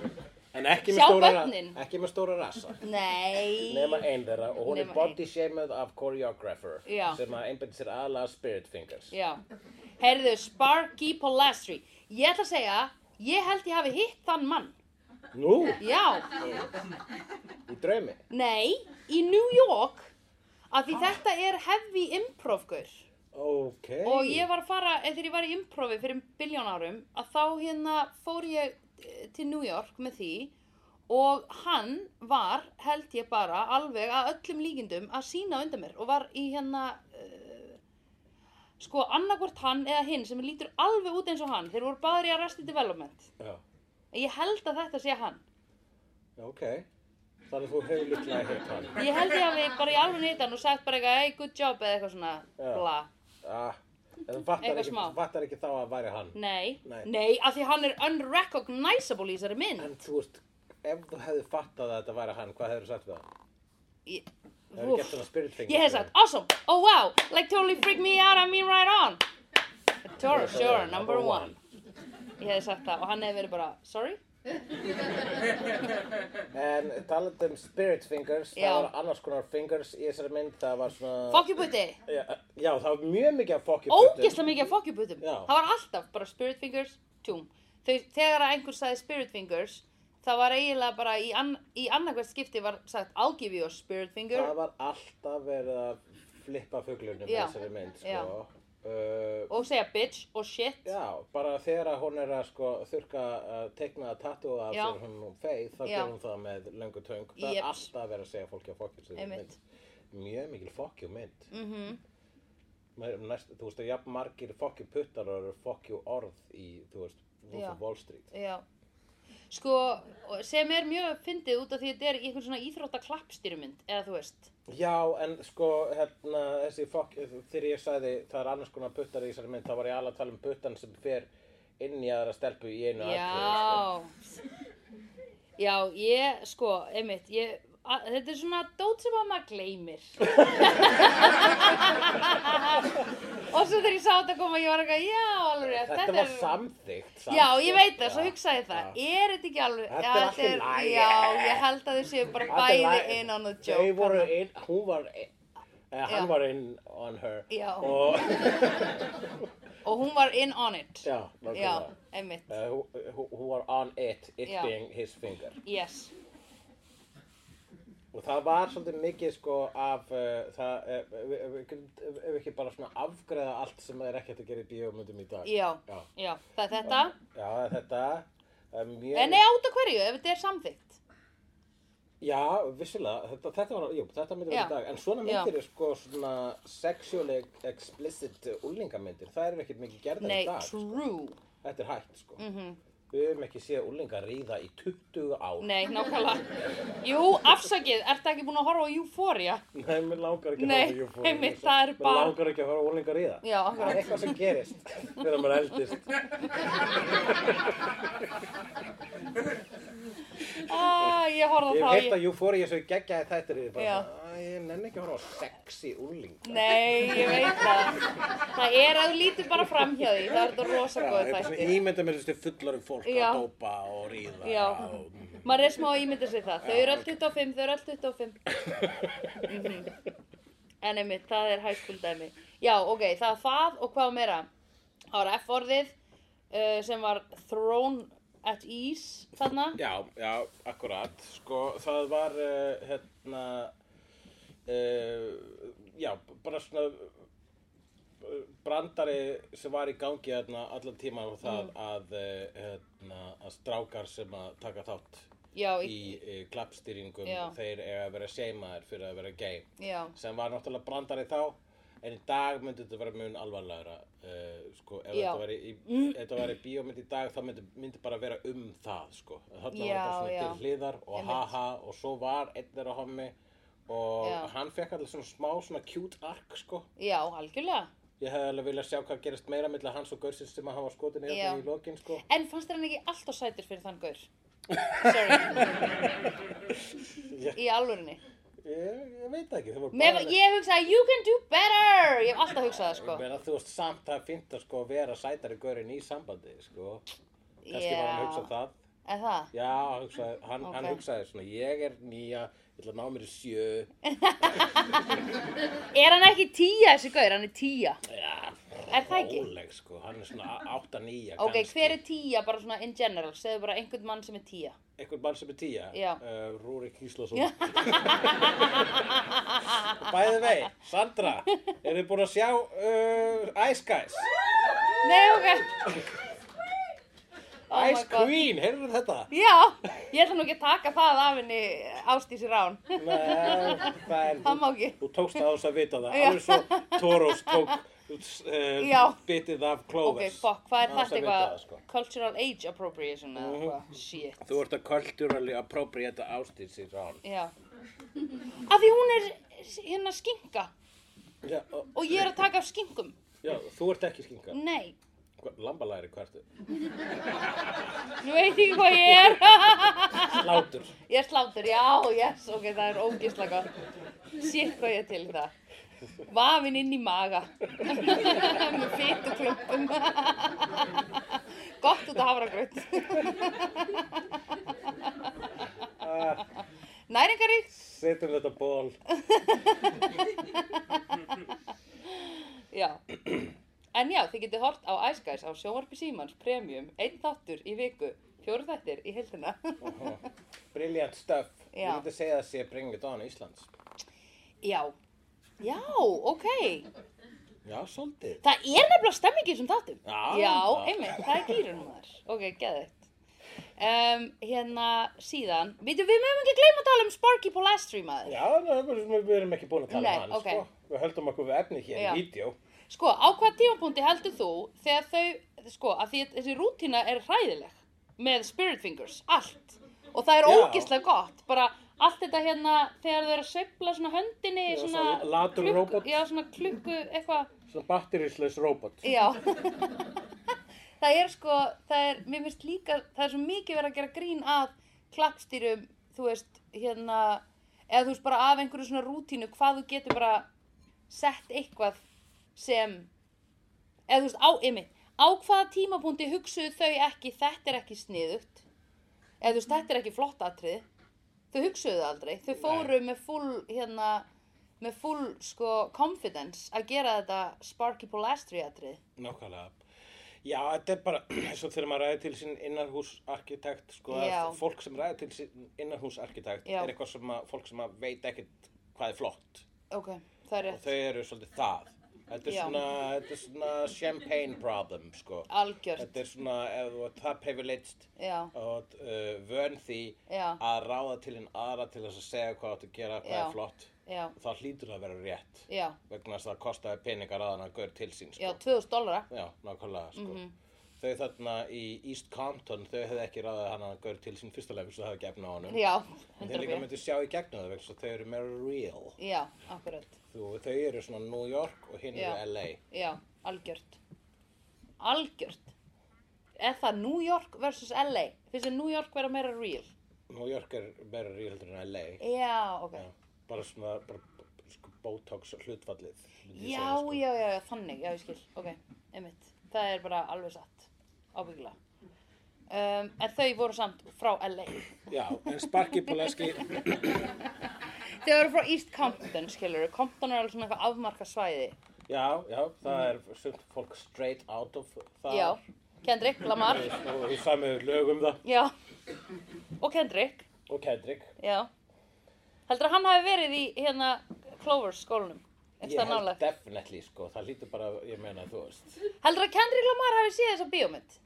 B: En ekki
A: Sjá
B: með stóra,
A: börnin.
B: ekki með stóra rassa.
A: Nei
B: Nema einn þeirra og hún er
A: Nema ein.
B: body shamed af choreographer
A: Já.
B: sem að einbæti sér aðlega spirit fingers.
A: Já, heyrðu, Sparky Polastri Ég ætla að segja, ég held ég hafi hitt þann mann
B: Nú,
A: Já,
B: í draumi.
A: nei, í New York Af því þetta er heavy improv-gaur
B: Ok.
A: Og ég var að fara, eða þegar ég var í improvi fyrir biljón árum Að þá hérna fór ég eh, til New York með því Og hann var, held ég bara, alveg að öllum líkindum að sína undan mér Og var í hérna, eh, sko, annarkvort hann eða hinn sem lítur alveg út eins og hann Þeir voru báðir í Arrested Development
B: Já,
A: En Ég held að þetta sé hann.
B: ok. Þannig að þú hefur líklega hitt hann.
A: Ég held ég að við bara í alveg nýtt hann og sagt bara eitthvað, hey, good job eða eitthvað svona,
B: Já.
A: bla.
B: Ah, en þú
A: Eitthvað
B: fattar ekki,
A: smá.
B: fattar ekki þá að það væri hann.
A: Nei.
B: Nei.
A: af því hann er unrecognizable í þessari mynd.
B: En þú veist, ef þú hefði fattað að þetta væri hann, hvað hefur þú sagt við það?
A: Ég,
B: Hefur
A: Úff.
B: gert svona spirit fingers?
A: ég hef sagt, awesome, oh wow, like totally freak me out, I mean right on. Sure, sure, number one. Ég hef sagt það og hann hef verið bara, sorry?
B: En talað um spirit fingers,
A: Já.
B: það var annars konar fingers í þessari mynd, það var svona...
A: Fuck you putti.
B: Já, já, það var mjög mikið að fokkja
A: Ógeðslega mikið af fuck you puttum.
B: Já.
A: Það var alltaf bara spirit fingers, tjúm. Þau, þegar að einhver sagði spirit fingers, það var eiginlega bara í, ann, í annarkvært skipti var sagt, I'll give you a spirit finger.
B: Það var alltaf verið að flippa fuglunum í
A: Já.
B: þessari mynd,
A: Já.
B: sko. Uh,
A: og segja bitch og shit
B: Já, bara þegar að hún er að sko, þurka að teikna að tattúa af
A: Já.
B: sér hún feið, þá
A: Já.
B: gerir hún það með löngu töng. Það
A: Jeps.
B: er alltaf að vera að segja fólki að fokkjum sér
A: Einmitt.
B: mynd. Mjög mikil fokkjum mynd. Mm
A: Mhm,
B: -hmm. Næst, þú veist, jafn margir fokkjum puttar og eru fokkjum orð í, þú veist, Wolf
A: Já.
B: of Wall Street.
A: já sko, og- sem er mjög fyndið út af því að þetta er í einhvern svona íþrótta klappstýrumynd, eða þú veist.
B: Já, en sko, hérna, þessi fokk, þegar ég sagði það er annars konar puttar í þessari mynd, þá var ég alveg að tala um puttan sem fer inn í aðra stelpu í einu atriði, sko.
A: Já, já, ég, sko, einmitt, ég, a, þetta er svona dót sem að maður gleymir. og svo þegar ég sá þetta koma, ég var eitthvað, já, alveg, rétt,
B: Þetta, var samþykkt, samþykkt.
A: Já, ég veit það,
B: já.
A: svo hugsaði ég það.
B: Já.
A: Er þetta ekki alveg...
B: Þetta er
A: Já,
B: allt í lagi.
A: Já, ég held að þau séu bara
B: Þetta er
A: bæði
B: lag-
A: in on the
B: Þau
A: joke.
B: voru
A: þarna.
B: inn, hún var, inn- eh, hann
A: Já.
B: var inn on her.
A: Já.
B: Og,
A: Og hún var in on it.
B: já,
A: Já,
B: nákvæmlega.
A: einmitt.
B: Eh, Hún hún- hún var on it, it
A: Já.
B: being his finger.
A: Yes.
B: Og það var svolítið mikið sko af, uh, það, eh, ef ef- ef- ef- ef- ef ekki bara svona afgreða allt sem er ekkert að gera í bíómyndum í dag.
A: Já,
B: Já,
A: já. Það er þetta.
B: já það er þetta, það er mjög...
A: En nei, át af hverju, ef þetta er samþygt.
B: Já, vissulega, þetta, þetta var, jú, þetta myndir
A: Já.
B: verið í dag. En svona
A: Já.
B: myndir er sko svona sexually explicit úlingamyndir. Það eru ekkert mikið gerðar
A: Nei,
B: í dag. sko.
A: true.
B: Þetta er hægt sko. Við höfum ekki séð úlingar ríða í 20 ár.
A: Nei, nákvæmlega. Jú, afsakið, ertu ekki búin að horfa á Euphoria?
B: Nei, mér langar ekki
A: Nei,
B: að horfa á Euphoria.
A: einmitt, það er bara-
B: Mér langar ekki að horfa á úlingar ríða.
A: Já,
B: Það er
A: akkurat.
B: eitthvað sem gerist þegar maður eldist.
A: Ah, ég horfði
B: Ég hef
A: á þá.
B: heilt að Euphoria svo geggjaði þættir í því bara,
A: Já.
B: "Æ, ég nenni ekki að horfa á sexy úling.
A: Nei, ég veit það. Það er að þú lítur bara fram hjá því. Það er þetta rosa góð
B: bara
A: þættir.
B: svona ímynda mér þessi fullar um fólk
A: Já.
B: að dópa og ríða
A: Já.
B: og...
A: maður er smá að ímynda sér það þau eru all 25, þau eru all 25 -hmm. en einmitt, það er hæskuldæmi já, ok, það er það og hvað meira það var F-orðið uh, sem var thrown at ease þarna
B: Já, já, akkurat, sko, það var, uh, hérna, uh, já, bara svona uh, brandari sem var í gangi hérna allan tíma og það
A: Mm.
B: að, uh, hérna, að strákar sem að taka þátt
A: já,
B: í
A: í,
B: uh, klappstýringum,
A: Já.
B: þeir eiga að vera seimaðir fyrir að vera gay,
A: já,
B: sem var náttúrulega brandari þá, en í dag myndi þetta vera mun alvarlegra, uh, sko, ef
A: Já. Mm.
B: þetta væri, í, ef þetta væri bíómynd í dag, þá myndi, myndi bara vera um það, sko, þarna var
A: Já,
B: bara svona
A: já.
B: til hliðar og
A: Einmitt.
B: haha og svo var einn þeirra hommi og
A: Já.
B: hann fekk alltaf svona smá svona cute arc, sko,
A: já, algjörlega
B: ég hefði alveg viljað sjá hvað gerist meira milli hans og gaursins sem að hafa skotin
A: Já.
B: hérna í lokin, sko.
A: en fannst þér hann ekki alltaf sætur fyrir þann gaur sorry,
B: Ég,
A: í alvörinni
B: ég, ég veit það ekki, það var
A: Mér, ég hugsaði, you can do better ég hef alltaf hugsað það, sko
B: Ég meina, þú veist, samt það er fínt að sko vera sætari gaurinn í sambandi, sko. Kannski var hann að hugsa
A: já,
B: það.
A: en það
B: Já, hann hugsaði, hann, hann
A: Ok.
B: hugsaði svona, ég er nýja, ég ætla að ná mér í sjö.
A: Er hann ekki tíja þessi gaur? Hann er tíja.
B: Já,
A: Er það ekki?
B: Róleg, sko, hann er svona átta nýja,
A: Ok, hver er tíja bara svona in general? Segðu bara einhvern mann sem er tíja.
B: Einhvern mann sem er tíja?
A: Já.
B: Uh, Rúrik Íslason. Bæði vei, Sandra, eru þið búin að sjá uh, Ice Guys?
A: Nei, ok. Oh my
B: Ice
A: God.
B: Queen, heyrðu þetta?
A: Já, ég ætla nú ekki að taka það af henni Ástísi Rán.
B: Nei, það er...
A: Það má ekki.
B: Þú tókst á þess að vita það,
A: Já.
B: alveg svo Toros tók
A: Já.
B: uh, bitið af
A: Ok,
B: Clovis.
A: fuck, hvað er
B: Án þess að
A: þetta
B: vita
A: eitthvað?
B: það, sko. Mhm.
A: Cultural age appropriation eða eitthvað? Shit.
B: Þú ert að culturally appropriate ástísi rán.
A: Já. Af því hún er hérna skinka
B: Já, og,
A: og ég er að taka af skinkum.
B: já, þú ert ekki skinka.
A: Nei,
B: Hva- Lambalæri hvertu?
A: nú veit ég ekki hvað ég er.
B: Látur.
A: Ég er slátur, já, yes, ok, það er ógisla gott. Sitt hvað ég er til í það. Vafinn inn í maga. Með fytt og klumpum. gott út að hafra grönt. Næringaríkt?
B: Setjum þetta ból.
A: Já. En já, þið getið hort á Ice Guys á sjónvarpi símans, premium, einn þáttur í viku, fjóru þættir í heildina.
B: Brilliant stuff. Ég
A: Já.
B: myndi segja að sé Bring It On Íslands.
A: já. Já, ok.
B: Já, svolítið.
A: Það er nefnilega stemmingin sem þáttum.
B: Já.
A: Já, einmitt, það er gýrun maður. Ok, geðveitt. Um, hérna, síðan, veitum við mögum ekki gleyma að tala um Sparky Polastri maður.
B: Já, það er bara sem við við erum ekki búin að tala
A: Nei,
B: um hann,
A: ok.
B: sko. Við höldum okkur við efnið hér
A: Já.
B: í vídeo.
A: Sko, á hvaða tímapunkti heldur þú þegar þau, sko, að því að þessi rútína er hræðileg. með Spirit Fingers, allt og það er
B: Já.
A: ógislega gott, bara allt þetta hérna þegar þau eru að sveifla svona höndinni
B: Já,
A: svona,
B: svona latur robot.
A: já, svona klukku eitthvað
B: Svona batterislaus robot.
A: Já Það er sko, það er, mér finnst líka það er svo mikið verið að gera grín að klappstýrum, þú veist hérna, eða þú veist bara af einhverju svona rútínu, hvað þú getur bara sett eitthvað sem eða þú veist, á, ymmið á hvaða tímapunkti hugsuðu þau ekki þetta er ekki sniðugt eða þú veist, þetta er ekki flott atrið þau hugsuðu það aldrei, þau fóru með full hérna, með full sko confidence að gera þetta Sparky Polastri atrið
B: Nákvæmlega. Já, þetta er bara eins og þegar maður ræði til sín innarhúsarkitekt, sko,
A: Já.
B: að fólk sem ræði til sín innarhúsarkitekt
A: Já.
B: er eitthvað sem að, fólk sem að veit ekkert hvað er flott
A: ok, það er
B: og
A: rétt,
B: þau eru svolítið það. Þetta er,
A: Já.
B: svona, þetta er svona champagne problem, sko.
A: algjört
B: Þetta er svona, ef þú ert það privileged
A: já,
B: og uh, vön því
A: já,
B: að ráða til hinn aðra til þess að segja hvað áttu að gera, hvað
A: Já.
B: er flott,
A: já,
B: þá hlýtur það að vera rétt
A: já
B: vegna þess að það kostaði peningar að hann að gaur til sín, sko.
A: já, 2000 dollara
B: Já, nákvæmlega, sko.
A: Mhm.
B: Þau þarna í East Compton, þau hefðu ekki ráðið hann að gaur til sín fyrsta leif, þess að það hefði gefna á honum.
A: já,
B: En Þeir
A: 100
B: líka
A: björn
B: myndu sjá í gegnum það, vegna þess að þau eru meira real.
A: já, akkurat,
B: Þú, þau eru svona New York og hinn
A: Já.
B: eru LA.
A: já, algjört algjört er það New York versus LA finnst þið New York vera meira real
B: New York er meira real heldur en LA.
A: já, ok,
B: Já. Bara svona, bara, bara sko, botox hlutfallið. myndi ég
A: já,
B: segja, sko.
A: já, já, já, þannig, já, ég skil, ok, einmitt, það er bara alveg satt, ábyggilega. Um, en þau voru samt frá LA.
B: Já, en Sparky Poleski,
A: Þau voru frá East Compton, skilur, Compton er alveg svona eitthvað afmarka svæði.
B: já, já, það er sumt fólk straight out of það.
A: Já, Kendrick Lamar,
B: Og í sami lögum það.
A: já, og Kendrick,
B: Og Kendrick.
A: já. Heldur að hann hafi verið í hérna Clovers skólanum,
B: Ég
A: eitthvað
B: held
A: nálega.
B: definitely sko, það lítur bara, ég meina þú veist
A: Heldur að Kendrick Lamar hafi séð þessa bíómynd?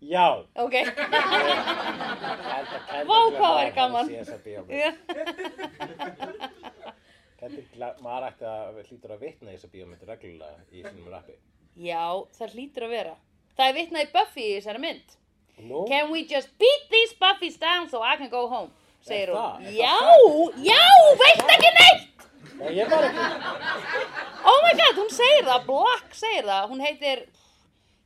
B: Já,
A: Ok,
B: ég held að Kendrick
A: Vá, hvað
B: Lamar
A: væri
B: hafi
A: gaman.
B: séð þessa bíómynd.
A: já,
B: Kendrick Lamar ætti að lítur að vitna í þessa bíómynd reglulega í sínum rappi
A: já, það hlýtur að vera. Það er vitnað í Buffy í þessari mynd.
B: Nú,
A: Can we just beat these puppies down so I can go home? segir
B: Er
A: hún.
B: það? Er
A: Já,
B: það
A: já, veist ekki neitt!
B: Nei, ég var ekki
A: Oh my god, hún segir það, Black segir það, hún heitir,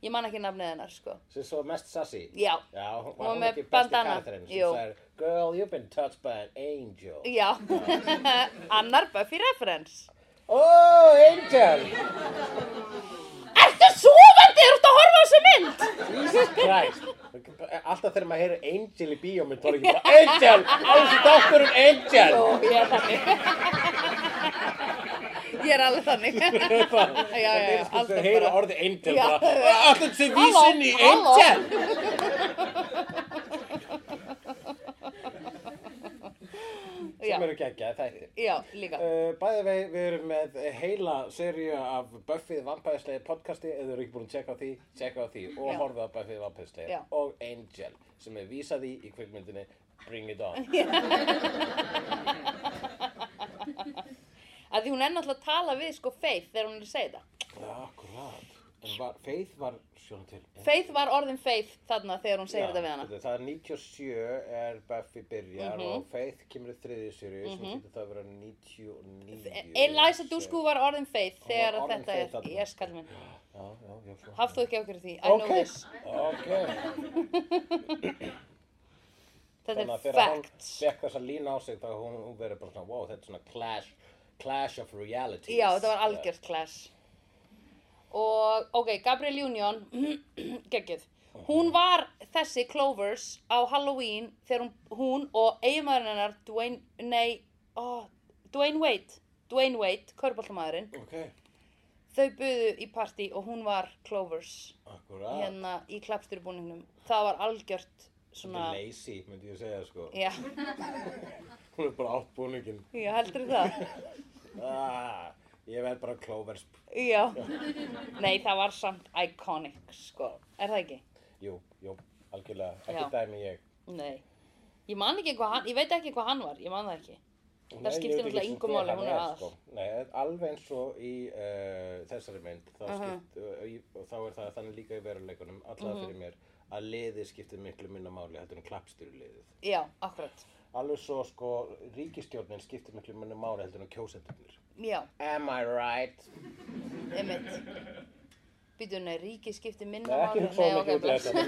A: ég man ekki nafnið hennar, sko.
B: sem svo mest sassy
A: Já,
B: Já, hún
A: Og
B: var hún
A: með
B: ekki besti
A: bandana.
B: karakterinn sem
A: Jú.
B: sagði Girl, you've been touched by an angel
A: já, annar Buffy reference.
B: Oh, angel,
A: Ertu sofandi, þú ert að horfa á þessu mynd?
B: Jesus Christ Alltaf þegar maður heyrir angel í bíómynd þá er ekki bara angel, á þessu dátturinn angel
A: Jú, ég er þannig. Ég er alveg þannig.
B: Þetta
A: já, já,
B: er sko
A: alltaf
B: þau heyra
A: bara.
B: orðið angel
A: Já.
B: bara Alltaf þau vísin í
A: halló.
B: angel
A: Já,
B: sem eru geggjað þættir
A: já, líka.
B: Uh, Bæði vei, við erum með heila seríu af Buffyð vampæðislegi podcasti ef þau eru ekki búin að tjekka á því, tjekka á því og
A: Já.
B: horfa á Buffyð
A: Já.
B: vampæðislegi og Angel sem er vísað í í kvikmyndinni Bring It On
A: Að því hún er náttúrulega að tala við, sko, Faith þegar hún er að segja þetta.
B: Akkurát En var, Faith var sjónu til
A: Faith var orðin Faith þarna þegar hún segir þetta við hana. Mhm.
B: þetta- Það er 97 er Buffy byrjar og Faith kemur í þriðju seríu sem getur það að vera 99
A: Eliza sko- Dushku var orðin feið þegar
B: var
A: að
B: orðin
A: þetta
B: feið
A: er
B: þarna.
A: Yes, kallum minn
B: Já, já, já, svo
A: Hafðu þú ekki okkur því, I
B: Ok.
A: know this
B: Ok, þannig
A: Þetta
B: að
A: er
B: fyrir að hún
A: facts
B: fekk þessa lína á sig þá hún, hún verið bara svona, wow, þetta er svona clash, clash of realities.
A: Já, þetta var algjört clash Og, ok, Gabriel Union Gekkið Hún var þessi Clovers á Halloween þegar hún, hún og eiginmaðurinn hennar Dwayne, nei, ó, Dwayne Wade Dwayne Wade, körbáltamaðurinn
B: Ok,
A: Þau buðu í partí og hún var Clovers
B: akkurat. Hérna,
A: hérna í klapsturbúningnum Það var algjört
B: svona...
A: svona
B: Lazy, myndi ég segja, sko.
A: Já,
B: Hún er bara átt búningin.
A: já, heldur það?
B: Ah, ég verð bara Clovers.
A: Já. Nei, það var samt iconic, sko. Er það ekki?
B: Jú, jú, algjörlega, ekki
A: Já.
B: dæmi ég.
A: Nei. Ég man ekki hvað hann, ég veit ekki hvað hann var, ég man það ekki. Það
B: Nei, ég
A: skiptir
B: veit ekki sem
A: náttúrulega engu
B: hver
A: máli,
B: hann
A: hún er aðal.
B: Sko. Nei, alveg eins og í uh, þessari mynd, þá, eh, uh
A: Aha.
B: skipt, uh, í, og þá er það þannig líka í veruleikunum, allavega fyrir mér, að liðið skiptir miklu minna máli heldur en klappstýru liðið.
A: já, akkurat
B: Alveg svo sko ríkistjórnin skiptir miklu minna máli heldur en kjósendurnir.
A: já,
B: Am I right?
A: einmitt býtu, nei, ríki skiptir minna
B: Nei, ekki
A: máli-
B: hugsa of mikið
A: Nei, ok,
B: út í þetta, menn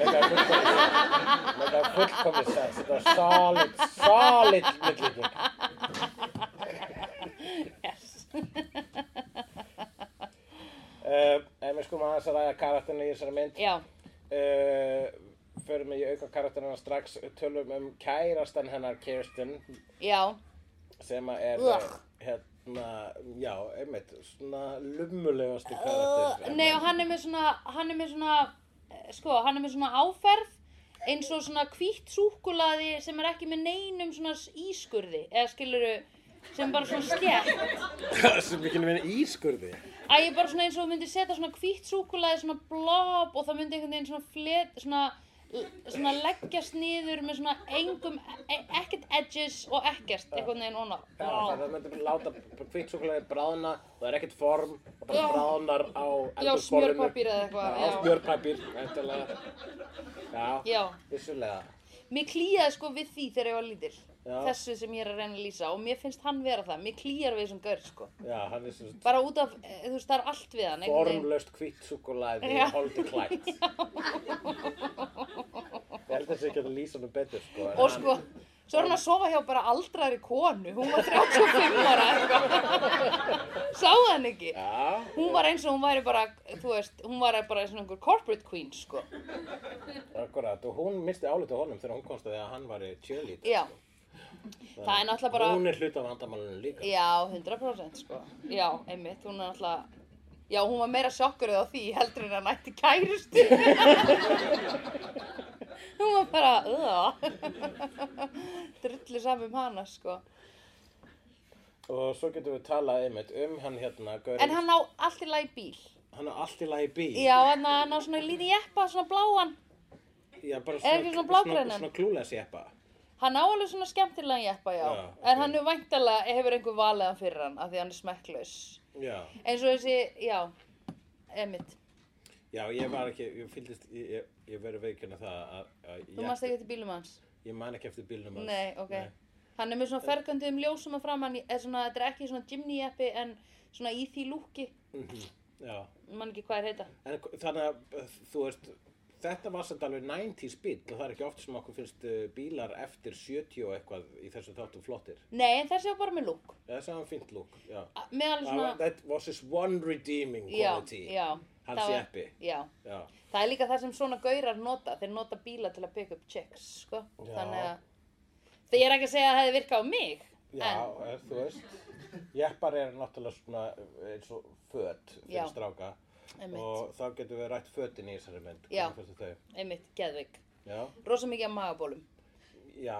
B: það er fullkomið- mér það er fullkomið sens, þetta er solid, solid millíking.
A: yes.
B: Uh, ef við skulum aðeins að ræða karakterinu í þessari mynd,
A: já,
B: uh, förum við í auka karakterina strax, tölum um kærastan hennar Kirsten,
A: já,
B: sem að er,
A: Ugh.
B: hérna, já, einmitt, svona lumulegasti karakter.
A: Eh, Nei og hann er með svona, hann er með svona, eh, sko, hann er með svona áferð eins og svona hvítt súkulaði sem er ekki með neinum svona s- ískurði eða skiluru sem bara svona skemmt.
B: sem ekki nefnir ískurði.
A: Æ, ég bara svona eins og þú myndir setja svona hvítt súkulaði svona blob og það myndi einhvern veginn svona flet, svona, svona leggjast niður með svona engum, e ekkert edges og ekkert einhvern veginn óna.
B: Já, það myndi bara láta kvittsúkulegði bráðna, það er ekkert form, það bara bráðnar á
A: Já,
B: eldursporinu.
A: smjörpapír eða eitthvað.
B: á
A: já.
B: smjörpapír, eftirlega. Já,
A: Já.
B: vissulega.
A: Mér klíðaði sko við því þegar ég var lítil
B: Já.
A: Þessu sem ég er að reyna að lýsa Og mér finnst hann vera það, mér klíðar við þessum gaur sko
B: Já, hann er svona
A: Bara út af, eh, þú veist, það er allt við hann einhvern veginn.
B: formlaust kvittsúkulegði,
A: Já.
B: holdi klætt. Ég held að sé ekki að lýsa hann betur, sko. en
A: Og
B: hann-
A: sko, svo er hann að sofa hjá bara aldrari konu Hún var 35 ára eitthvað Sáðu hann ekki
B: Já,
A: Hún var eins og hún væri bara, þú veist, hún var bara svona einhver corporate queen sko
B: akkurat, og hún misti álít á honum þegar hún komst að því að hann var cheerleader.
A: Já, það er náttúrulega bara
B: Hún er hlut af vandamálunum líka.
A: Já, 100% sko. Já, einmitt, hún er alltaf Já, hún var meira sjokkurðið á því heldur en að nætti kærustu. hún var bara, öða, drullu um hana, sko.
B: Og svo getum við talað einmitt um hann hérna, gaurinn-
A: En hann á allt í lagi bíl.
B: hann er allt í lagi bíl.
A: Já, hann á- hann á svona lítið jeppa, svona bláan.
B: Já, bara
A: ekki svona blágrænan?
B: Svona klúles jeppa.
A: Hann á alveg svona skemmtilegan jeppa, já.
B: Já, ok.
A: En hann er væntalega, hefur einhver valið hann fyrir hann, af því hann er smekklaus.
B: Já,
A: Eins og þessi, já, einmitt.
B: já, ég var ekki, ég fylgist, ég, ég, ég verið veikinn að það að, að
A: Þú manst ekki eftir bílum hans?
B: ég man ekki eftir bílnum hans.
A: Nei, ok. Hann er með svona fergandi um ljósum að framann, eða svona, þetta er ekki svona Jimny jeppi en svona í því lúki,
B: Mhm, Já,
A: mann ekki hvað er heita.
B: en k- þannig að uh, þú veist, þetta var samt alveg 90s bíl og það er ekki oft sem okkur finnst uh, bílar eftir 70 og eitthvað í þessu þáttum flottir.
A: Nei, en þessi var bara með lúk.
B: Já, það var fint lúk, já.
A: A- Með alveg
B: Það var-
A: svona,
B: That was his one redeeming
A: já,
B: quality.
A: já.
B: Hans
A: það var-
B: jeppi.
A: Já,
B: já.
A: það er líka það sem svona gaurar nota, þeir nota bíla til að pick up chicks, sko.
B: Já.
A: Þannig að, þegar ég er ekki að segja að það hefði virkað á mig,
B: Já,
A: en,
B: er, þú veist, jeppar er náttúrulega svona eh, eins og föt fyrir
A: Já.
B: stráka
A: Einmitt.
B: og þá getum við rætt fötin í þessari mynd.
A: Já.
B: hvernig fannst þér þau?
A: einmitt, geðvik.
B: Já,
A: Rosa mikið af magabólum.
B: já,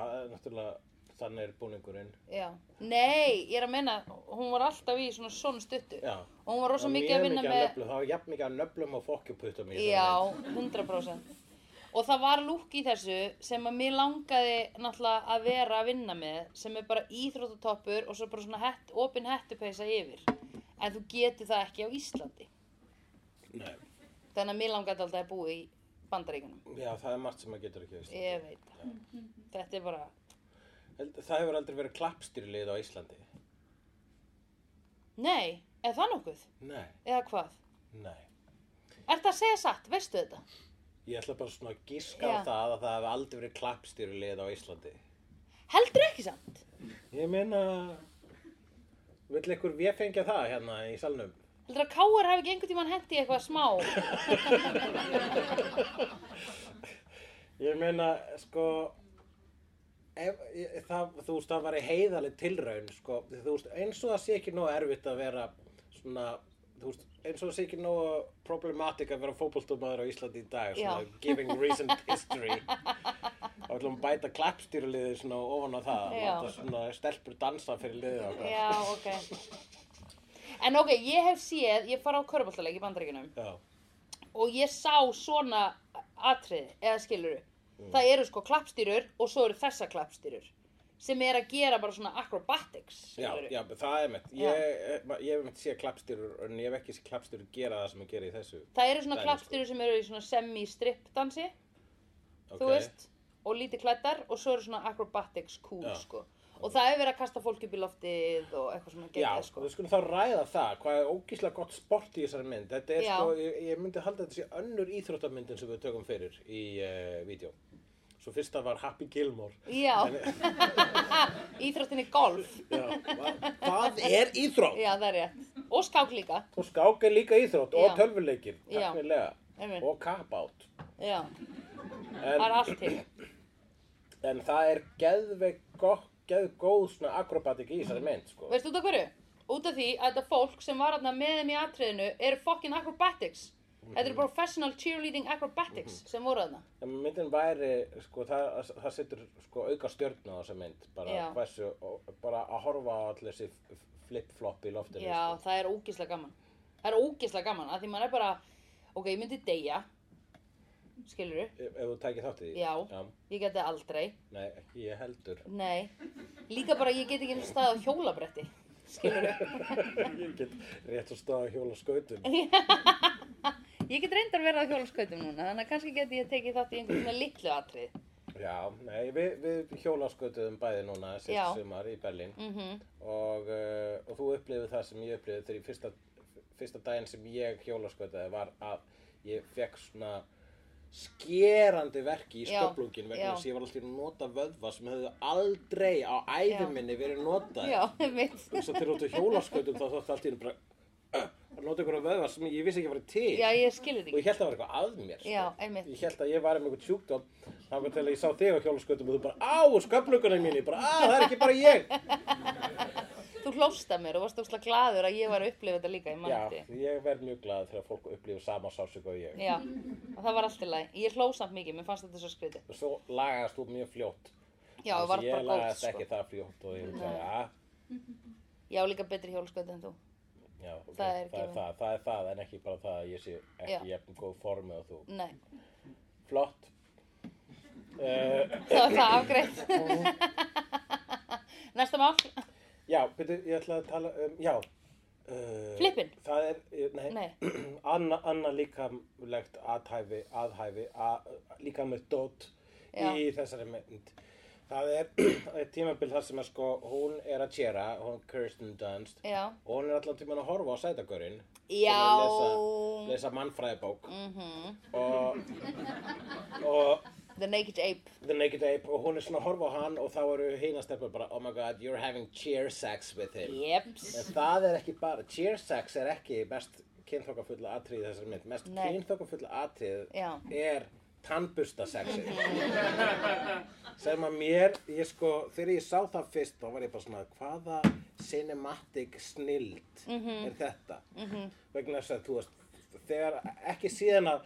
B: náttúrulega þannig er búningurinn.
A: Já. Nei, ég er að menna, hún var alltaf í svona svona stuttu.
B: Já.
A: Og hún var rosa
B: Það var
A: mikið að
B: mjög
A: vinna
B: mikið
A: með...
B: nöflum, Það var jafn mikið af nöflum og fokkjuputtum í þessari mynd.
A: Já, 100% Og það var lúk í þessu sem að mér langaði náttúrulega að vera að vinna með sem er bara íþróttatoppur og svo bara svona hett, opin hettupeysa yfir en þú getur það ekki á Íslandi
B: Nei.
A: þannig að mér langaði alltaf að búa í bandaríkunum
B: Já, það er margt sem maður getur ekki veist.
A: Ég veit það Þetta er bara,
B: Held- Það hefur aldrei verið klappstýrlið á Íslandi.
A: nei, er það nokkuð?
B: Nei,
A: Eða hvað?
B: nei.
A: Ertu að segja satt, veistu þetta?
B: Ég ætla bara svona að gíska á
A: Já.
B: það að það hefur aldrei verið klappstýrlið á Íslandi.
A: Heldur ekki samt?
B: Ég meina, vill ykkur véfengja það hérna í salnum?
A: Heldur að Káar hafi ekki einhvern tímann hendi eitthvað smá?
B: Ég meina, sko, ef, ég, það, þú veist, það var í heiðaleg tilraun, sko, þú veist, eins og það sé ekki nógu erfitt að vera svona, þú veist, eins og það sé ekki nógu problematic að vera fótboltumæður á Íslandi í dag, svona,
A: Já.
B: giving recent history. Og ætlum að bæta klappstýruliðið svona ofan á það,
A: Já.
B: láta svona stelpur dansa fyrir liðið okkar.
A: Já, ok. En ok, ég hef séð, ég fara á körbóltaleik í bandaríkunum
B: Já,
A: og ég sá svona atriði, eða skiluru.
B: Mm.
A: Það eru sko klappstýrur og svo eru þessa klappstýrur sem er að gera bara svona acrobatics,
B: Já,
A: skilurðu.
B: já, það er mitt.
A: Já.
B: Ég, eh, ég, ég hef mitt sé klappstyrur en ég hef ekki sé klappstyrur gera það sem ég gera í þessu.
A: Það eru svona
B: Dæmi, sko.
A: klappstýrur sem eru í svona semi-strip dansi þú
B: Ok.
A: veist, og lítið klættar og svo eru svona acrobatics cool,
B: Já.
A: sko. Og það er verið að kasta fólk upp í loftið og eitthvað svona
B: Já,
A: geggjað, sko.
B: við skulum þá ræða það, hvað er ógíslega gott sport í þessari mynd. Þetta er
A: Já.
B: sko, ég, ég myndi halda að þetta sé önnur íþróttamyndin sem við tökum fyrir í uh, vídeo. Svo fyrsta var Happy Gilmore. eh,
A: Já, íþróttinni golf,
B: Já, hva- hvað er íþrótt?
A: já það er rétt. Og skák líka,
B: Og skák er líka íþrótt og
A: Já.
B: tölvuleikir,
A: Já.
B: teknilega.
A: Einmitt.
B: Og kappátt.
A: já, það er
B: En,
A: allt til.
B: en það er geðveik gott, geðgóð svona akrobatik í þessari mynd, sko.
A: Veist út af hverju? Út af því að þetta fólk sem var aðna með þeim í atriðinu eru fucking acrobatics. Þetta eru professional cheerleading acrobatics sem voru aðna.
B: En myndin væri, sko, það, það setur sko, auka stjörn á þessa mynd bara,
A: Já.
B: hversu, og- bara að horfa á allir þessi flip-flop í loftinu
A: Já,
B: sko.
A: það er ógislega gaman. Það er ógislega gaman að því maður er bara, ok, ég myndi deyja, skilurðu,
B: sko. ef, ef þú tækir þátt í því
A: Já. ég geti aldrei,
B: Nei, ekki ég heldur
A: nei, líka bara ég get ekki einu stað á hjólabretti, skilurðu.
B: Ég get rétt að staða hjóla skautum
A: Ég get reyndar verið á hjólaskautum núna, þannig að kannski geti ég tekið þátt í einhvern svona litlu atrið.
B: Já, nei, við, við hjóla skautum bæði núna
A: Já.
B: sérst sumar í Berlín
A: Mm
B: og, uh, og þú upplifið það sem ég upplifið þegar í fyrsta, fyrsta daginn sem ég hjólaskautaði var að ég fekk svona skerandi verki í
A: Já,
B: stöflungin
A: já.
B: vegna þess að ég var alltaf að nota vöðva sem hefðu aldrei á
A: Já.
B: æðuminni verið notað
A: Já, mitt.
B: þess að þegar þú hjólaskautum þá þátti allt í einu bara "Ugh", að nota ykkur vöðva sem ég vissi ekki að vera til
A: Já, ég skilir
B: og
A: þig.
B: ég held að það var eitthvað að mér sko.
A: Já, einmitt.
B: ég held að ég var með einhvern sjúkdóm þá var til að ég sá þig á hjólaskautum og þú bara á sköflungunum minni bara að það er ekki bara ég
A: Þú hlófst að mér og varst óslega gladur að ég var að upplifa þetta líka, ég mann
B: Já,
A: eftir. því.
B: ég verð mjög glad þegar fólk upplýður sama sásöku og ég.
A: Já, og það var allt í lagi. Ég hló samt mikið, mér fannst þetta svo skrítið.
B: Og svo lagast þú mjög fljótt.
A: Já, það var
B: Þannig að
A: bara góð,
B: Ég lagast
A: sko.
B: ekki það fljótt og ég hugsaði, "Ah, að,
A: Ég á líka betri hjólaskauti en þú.
B: já, ok,
A: Það er
B: það,
A: gefið.
B: það, það er það, en ekki bara það að ég sé ekki
A: Já.
B: jafn góð formi og þú.
A: Nei,
B: Flott. Uh,
A: þá er það afgreitt. Næsta mál,
B: já, byrju, ég ætla að tala um, já. Uh,
A: Flippin?
B: Það er, eh, nei,
A: nei,
B: Anna, anna líkamlegt aðhæfi, aðhæfi, að, líkamlegt dót í þessari mynd. Það er eitt tímabil þar sem að sko, hún er að tjera, hún Kirsten Dunst,
A: já.
B: og hún er allan tíman að horfa á sætagörinn.
A: Já. Mm.
B: Lesa, lesa mannfræðibók
A: Mhm.
B: og, og
A: The Naked Ape.
B: The Naked Ape og hún er svona að horfa á hann og þá eru hinastelpur bara, oh my god, you're having cheer sex with him.
A: Jeps.
B: En það er ekki bara, cheer sex er ekki mest kynþokkafulla atrið þessar mynd. Mest
A: Nei.
B: kynþokkafulla atrið
A: Já.
B: er tannbusta sexið. Sem að mér, ég sko, þegar ég sá það fyrst, þá var ég bara svona, hvaða cinematic snild er þetta? Vegna þess að þú veist, þegar ekki síðan að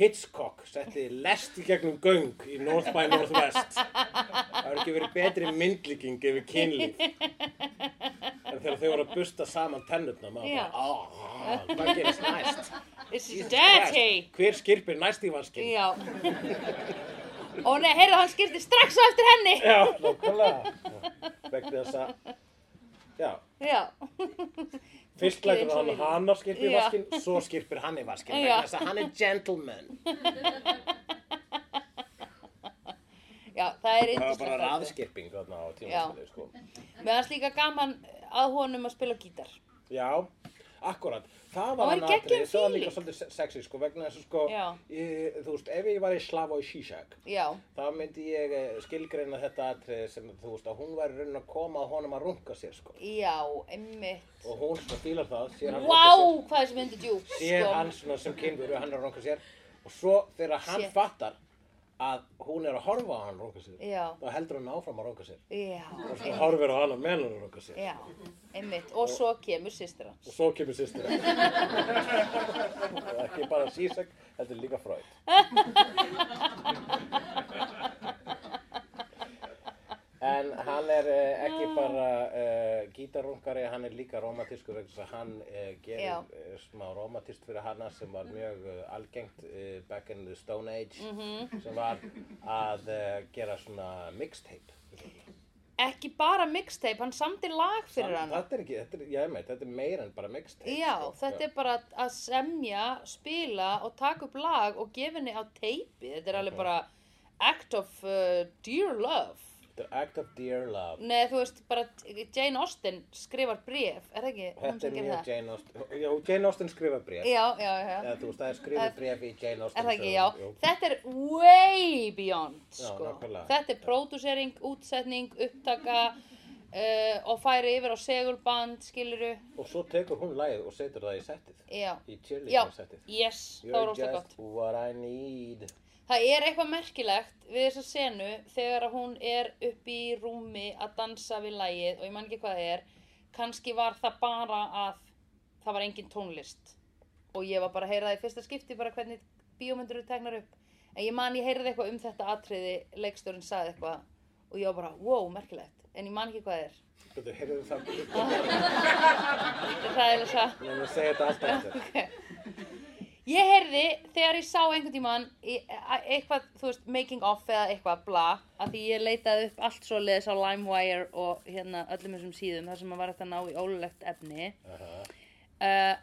B: Hitchcock setti lest í gegnum göng í North by Northwest. Það hefur ekki verið betri myndlíking yfir kynlíf. En þegar þau voru að busta saman tennurna, maður
A: Já.
B: bara, aaaah, hvað gerist næst?
A: This is
B: Jesus
A: dirty.
B: Christ, Hver skirpir næst í vaskinn?
A: Já. Ó nei, heyrðu, hann skýrti strax á eftir henni.
B: Já, nákvæmlega. Vegna þess að, já,
A: Já,
B: fyrst
A: Fólkið
B: lætur
A: er svo
B: hann
A: viljugt.
B: hana skirpa í
A: Já.
B: vaskinn, svo skirpir hann í vaskinn.
A: Já.
B: Vegna þess að hann er gentleman.
A: já, það er
B: Það var bara
A: yndislegt. atriði.
B: raðskirping þarna á tímaskilu, sko.
A: Mér fannst líka gaman að honum að spila á gítar.
B: Já, akkurat. Það
A: Það
B: var
A: var
B: hann
A: geggjað
B: atrið, það var
A: feeling.
B: líka svolítið se- sexy, sko, vegna þess að, sko,
A: Já.
B: ég, þú veist, ef ég var í Slavoj Zizek,
A: Já,
B: þá myndi ég eh, skilgreina þetta atrið sem þú veist að hún væri raunin að koma að honum að runga sér sko
A: já, einmitt.
B: og hún svona fílar það sér hann, runka
A: Vá,
B: sér,
A: hvað þessi myndi djúb,
B: sér
A: sko.
B: hann svona sem kynveru hann er að runga sér og svo þegar hann
A: Sér.
B: fattar að hún er að horfa á hann runga sér
A: Já.
B: þá heldur hann áfram að runga sér
A: Já,
B: og svo horfir á hann að meðan að runga sér
A: já, einmitt. Og svo kemur systir hans.
B: og svo kemur sýstir og ekki bara sísek heldur líka fröð en hann er uh, ekki bara uh, gítarrungari hann er líka romantískur vegna þess að hann uh, gerir
A: Já.
B: uh, smá romantist fyrir hana sem var mjög uh, algengt uh, back in the stone age
A: Mhm.
B: sem var að uh, gera svona mixtape
A: Ekki bara mixtape, hann samdi lag fyrir hann.
B: þetta er ekki, þetta er, ég meit, þetta er meira en bara mixtape
A: Já,
B: sko.
A: þetta er bara að- að semja, spila og taka upp lag og gefa henni á teipi. Þetta er alveg bara Act of uh, Dear Love
B: The Act of Dear Love
A: Nei, þú veist, bara Jane Austen skrifar bréf, er það ekki? Hún
B: Þetta
A: sem
B: er
A: gerir
B: mjög
A: það.
B: Jane Austen Já, Jane Austen skrifa bréf
A: Já, já, já.
B: Eða þú veist, það er skrifið bréf í Jane Austen
A: Er það ekki,
B: sögum.
A: já.
B: Jú.
A: Þetta er way beyond,
B: Já,
A: sko.
B: nákvæmlega.
A: Þetta er pródúsering, útsetning, upptaka uh, og færi yfir á segulband, skiluru.
B: Og svo tekur hún lagið og setur það í settið
A: Já,
B: Í
A: já,
B: cheerleading settið
A: yes, það var
B: You're
A: óslega gott.
B: just what I need
A: Það er eitthvað merkilegt við þessa senu þegar að hún er upp í rúmi að dansa við lægið og ég man ekki hvað það er. Kanski var það bara að það var engin tónlist og ég var bara að heyra það í fyrsta skipti bara hvernig bíómyndur eru tegnar upp. En ég man ég heyrði eitthvað um þetta atriði, leikstjórinn sagði eitthvað og ég var bara wow, merkilegt. En ég man ekki hvað það er.
B: Þú heyrðu það
A: Þetta er hræðilega satt.
B: Nei, ég segi þetta alltaf aftur
A: Ég heyrði þegar ég sá einhvern tímann í- e, a- eitthvað, þú veist, making of eða eitthvað bla, að því ég leitaði upp allt svo leðis á LimeWire og hérna öllum þessum síðum þar sem maður var hægt að ná í ólulegt efni uh,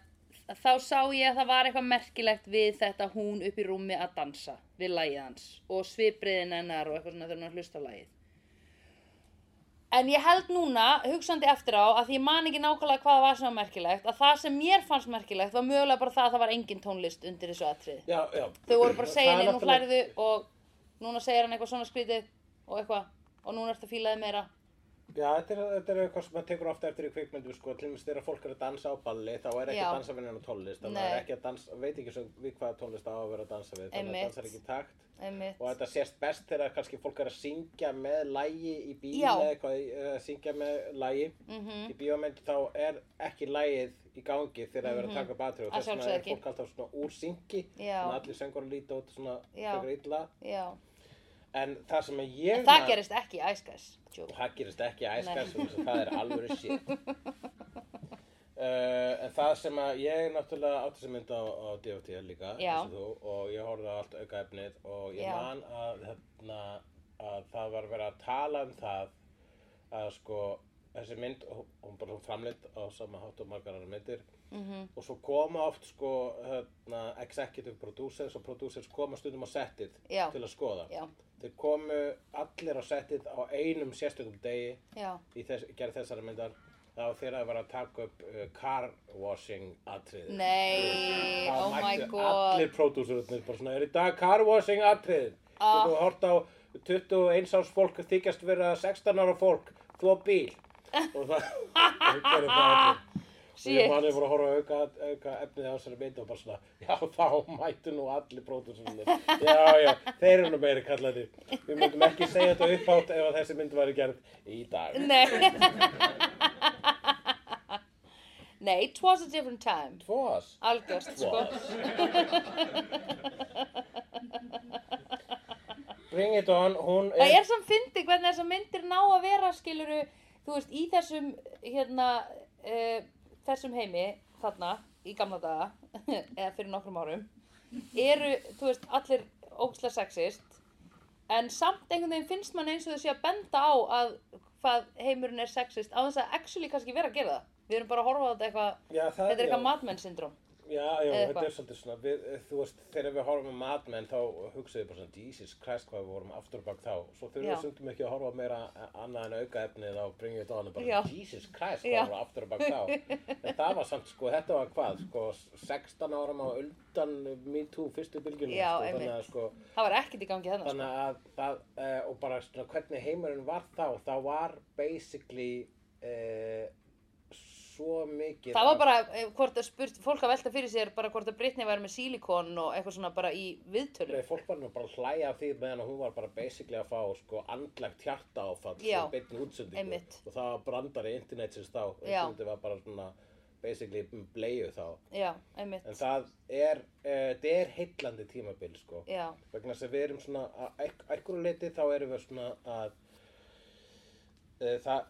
A: þá sá ég að það var eitthvað merkilegt við þetta hún upp í rúmi að dansa við lagið hans og svipriðin hennar og eitthvað svona þegar hún var að hlusta á lagið En ég held núna, hugsandi eftir á, að því ég man ekki nákvæmlega hvað var svona merkilegt, að það sem mér fannst merkilegt var mögulega bara það að það var engin tónlist undir þessu atrið.
B: Já, já
A: Þau voru bara að
B: Það
A: segja
B: er
A: henni, nú
B: náttúrulega-
A: hlærðu og núna segir hann eitthvað svona skrítið og eitthvað og núna ertu að fílaði meira.
B: Já, þetta er, þetta er eitthvað sem maður tekur ofta eftir í kvikmyndum sko, til dæmis þegar fólk er að dansa á balli þá er ekki
A: Já.
B: að dansa við neina tónlist þannig að það
A: Nei.
B: er ekki að dansa, veit ekki svo við hvaða tónlist á að vera að dansa við þannig að
A: Einmitt.
B: það dansar ekki í takt
A: Einmitt.
B: og þetta sést best þegar kannski fólk er að syngja með lægi í bíl
A: Já.
B: eða eitthvað, eða að syngja með lægi
A: Mhm,
B: í bíómynd þá er ekki lægið í gangi þegar það er verið að taka upp atrið og
A: Mhm. Að
B: þess vegna
A: sjálfsögðu
B: er
A: ekki.
B: fólk alltaf svona úr syngi
A: Já.
B: þannig að allir söngur líta út svona
A: Já.
B: frekar illa
A: Já.
B: en það sem ég
A: En það
B: man-
A: gerist ekki, æskæs.
B: og það gerist ekki
A: Nei.
B: æskast og það er alvöru shit uh, en það sem að ég náttúrulega átti sem mynd á, á DFT líka
A: Já.
B: eins og þú, og ég horfði á allt auka efnið og ég
A: Já.
B: man að, hérna, að það var verið að tala um það að sko þessi mynd, hún- hún bara framleitt á sama hátt og margar annar myndir
A: Mhm.
B: og svo koma oft sko hérna, executive producers og producers koma stundum á settið
A: Já.
B: til að skoða
A: Já,
B: Þeir komu allir á settið á einum sérstökum degi
A: já,
B: í þess, gerð þessari myndar þá þeirra var að taka upp uh, car washing atriðið.
A: nei,
B: Þá
A: oh my
B: mættu
A: god,
B: Allir pródúsurnir bara svona, er í dag car washing atriðið.
A: Ah.
B: Þú hort á 21 árs fólk þykjast vera 16 ára fólk, þú á bíl. Og það, það gerir það allir. Og ég
A: shit,
B: manið voru að horfa á auka, auka efnið á þessari mynd og bara svona, já þá mættu nú allir pródúsunir. Já, já, þeir eru nú meiri kallandi. Við myndum ekki segja þetta upphátt ef að þessi mynd væri gerð í dag.
A: nei, nei, it was a different time,
B: Tvós.
A: algjörst, sko,
B: Bring it on, hún
A: Það er samt fyndi hvernig þessar myndir ná að vera skiluru, þú veist, í þessum hérna, uh, þessum heimi þarna, í gamla daga eða fyrir nokkrum árum eru, þú veist, allir ógæslega sexist en samt einhvern veginn finnst mann eins og þau sé að benda á að hvað heimurinn er sexist á þess að actually kannski vera að gera það við erum bara að horfa á þetta eitthvað
B: Já, það,
A: þetta er eitthvað
B: já.
A: madmenn syndrom
B: Já, já,
A: Eða
B: þetta
A: hvað?
B: er svolítið svona, við, eh, þú veist, þegar við horfum um matmenn þá hugsaðum við bara svona, Jesus Christ, hvað við vorum aftur bak þá. Svo þurfum
A: Já.
B: við sundum ekki að horfa á meira eh, annað en aukaefnið á Bring It On, og bara,
A: Já.
B: Jesus Christ, hvað
A: Já.
B: við vorum aftur bak þá. en það var samt, sko, þetta var hvað, sko, 16 áram á undan Me Too fyrstu bylgjunum,
A: Já,
B: sko,
A: einmitt.
B: þannig að, sko,
A: það var ekkert í gangi þennan sko.
B: þannig að það, uh, og bara svona hvernig heimurinn var þá, þá var basically uh, svo mikið
A: Það var
B: af-
A: bara, eh, hvort að spurt, fólk að velta fyrir sér bara hvort að Britni væri með sílikon og eitthvað svona bara í viðtölu.
B: Nei, fólk var nú bara að hlæja af því meðan að hún var bara basically að fá sko andlagt hjarta áfall
A: Já.
B: sem beinni útsendingu
A: Einmitt.
B: og það var brandari internetsins þá
A: Já.
B: interneti var bara svona basically bleju þá
A: Já, einmitt.
B: en það er, uh, það er heillandi tímabil sko
A: Já,
B: vegna þess að við erum svona að einhverju leiti þá erum við svona að e, það,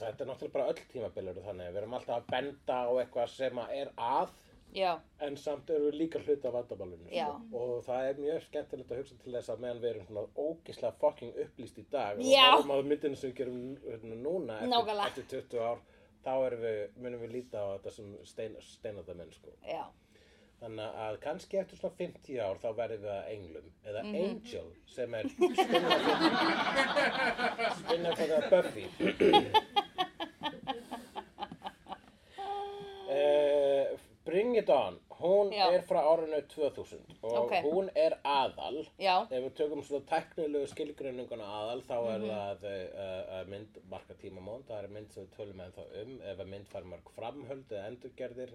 B: þetta er náttúrulega bara öll tímabil eru þannig við erum alltaf að benda á eitthvað sem að er að
A: já,
B: en samt eru við líka hluti af vandamálunum
A: Já.
B: sko. og það er mjög skemmtilegt að hugsa til þess að meðan við erum svona ógislega fucking upplýst í dag
A: Já.
B: og horfum á myndinu sem við gerum hérna, núna eftir,
A: Nákvæmlega.
B: eftir 20 ár þá erum við, munum við líta á þetta sem stein, steinatamenn sko.
A: já,
B: Þannig að kannski eftir svona 50 ár þá verðum við að englum eða
A: Mhm.
B: angel sem er spinna fyrir að Buffy. uh, Bring it on, hún
A: Já.
B: er frá árinu 2000 og
A: Ok.
B: hún er aðal.
A: Já,
B: Ef við tökum svona tæknilegu skilgreininguna aðal þá er það uh, uh, mynd marka tímamónd, það er mynd sem við tölum ennþá um ef að mynd fær mörg framhöld eða endurgerðir,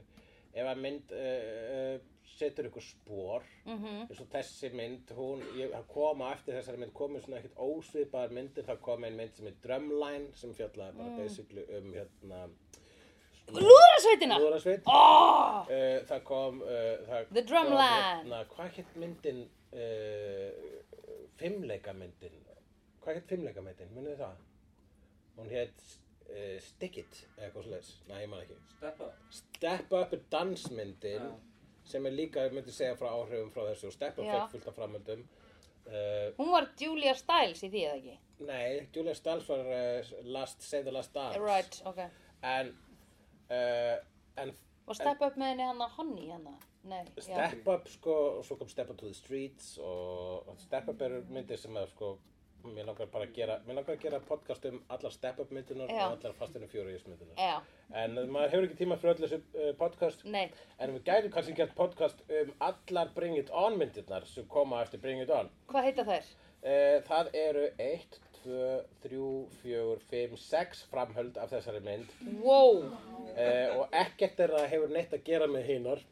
B: ef að mynd uh, uh, setur ykkur spór eins og þessi mynd, hún ég, að koma eftir þessari mynd komið svona ekkert ósvipaðar myndir, það kom ein mynd sem er Drumline sem fjallaði bara basically um hérna
A: lúðrasveitina
B: Lúðrasveit
A: oh,
B: uh, það kom uh, það
A: The Drumline.
B: kom, hérna, hvað hétt myndin uh, fimmleika myndin hvað hétt fimmleika myndin, munið þið það hún hétt uh, Stick It eða eitthvað slags, næ ég man ekki
C: Steppa.
B: Step Up er dansmyndin
C: Já.
B: sem er líka, ég myndi segja frá áhrifum frá þessu og Step Up
A: Já.
B: fekk fullt af framöldum uh,
A: Hún var Julia Stiles í því eða ekki
B: nei, Julia Stiles var uh, last, Say the Last Dance
A: Right, ok
B: en uh, en
A: Og steppa upp með henni hann að honni hann Nei, já,
B: Step Up sko, og svo kom Step Up to the Streets og, og Step Up eru myndir sem að sko, mér langar bara að gera mér langar að gera podcast um allar Step Up myndunar
A: Já.
B: og allar fastinu fjóriðis myndunar
A: já,
B: en eh, maður hefur ekki tíma fyrir öll þessu uh, podcast
A: nei
B: en við gætum kannski gert podcast um allar Bring It On myndirnar sem koma eftir Bring It On
A: Hvað heita þær?
B: uh, það eru 1, 2, 3, 4, 5, 6 framhöld af þessari mynd
A: Wow,
B: uh, og ekkert er að hefur neitt að gera með hinar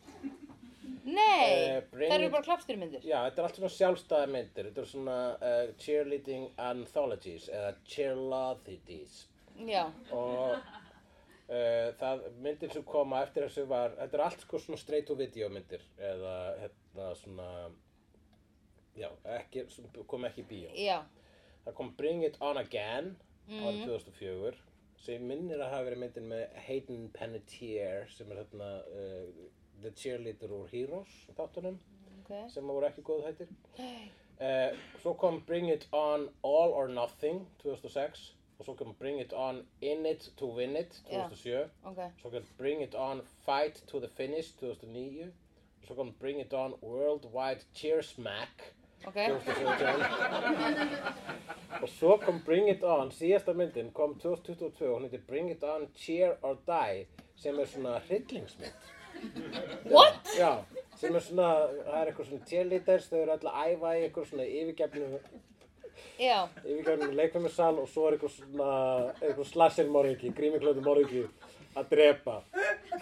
A: nei
B: Eh, bring-
A: Þær eru bara klapstýrmyndir
B: Já, þetta er allt svona sjálfstæða myndir, þetta er svona uh, cheerleading anthologies eða cheerlothities
A: Já,
B: og uh, það myndir sem koma eftir þessu var, þetta er allt sko svona straight to video myndir eða hérna svona, já, ekki, svona, kom ekki í bíó.
A: já, Mm,
B: Það kom Bring It On Again
A: Mhm.
B: árið 2004 sem minnir að hafa verið myndin með Hayden Panettiere sem er hérna uh, The Cheerleader úr Heroes þáttunum
A: ok
B: sem voru ekki góð hættir uh, svo kom Bring It On All or Nothing 2006 og svo kom Bring It On In It to Win It 2007
A: Ok,
B: svo kom Bring It On Fight to the Finish 2009 svo kom Bring It On Worldwide Cheer Smack
A: ok
B: 2017 og svo kom Bring It On síðasta myndin kom 2022 og hún heitir Bring It On Cheer or Die sem er svona hryllingsmynd
A: What?
B: Já, sem er svona, það er eitthvað svona cheerleaders, þau eru öll að æfa í eitthvað svona yfirgefnu,
A: Já,
B: yfirgefnu leikfæmisal og svo er eitthvað svona, eitthvað slasher morðingi, grímiklötu morðingi að drepa.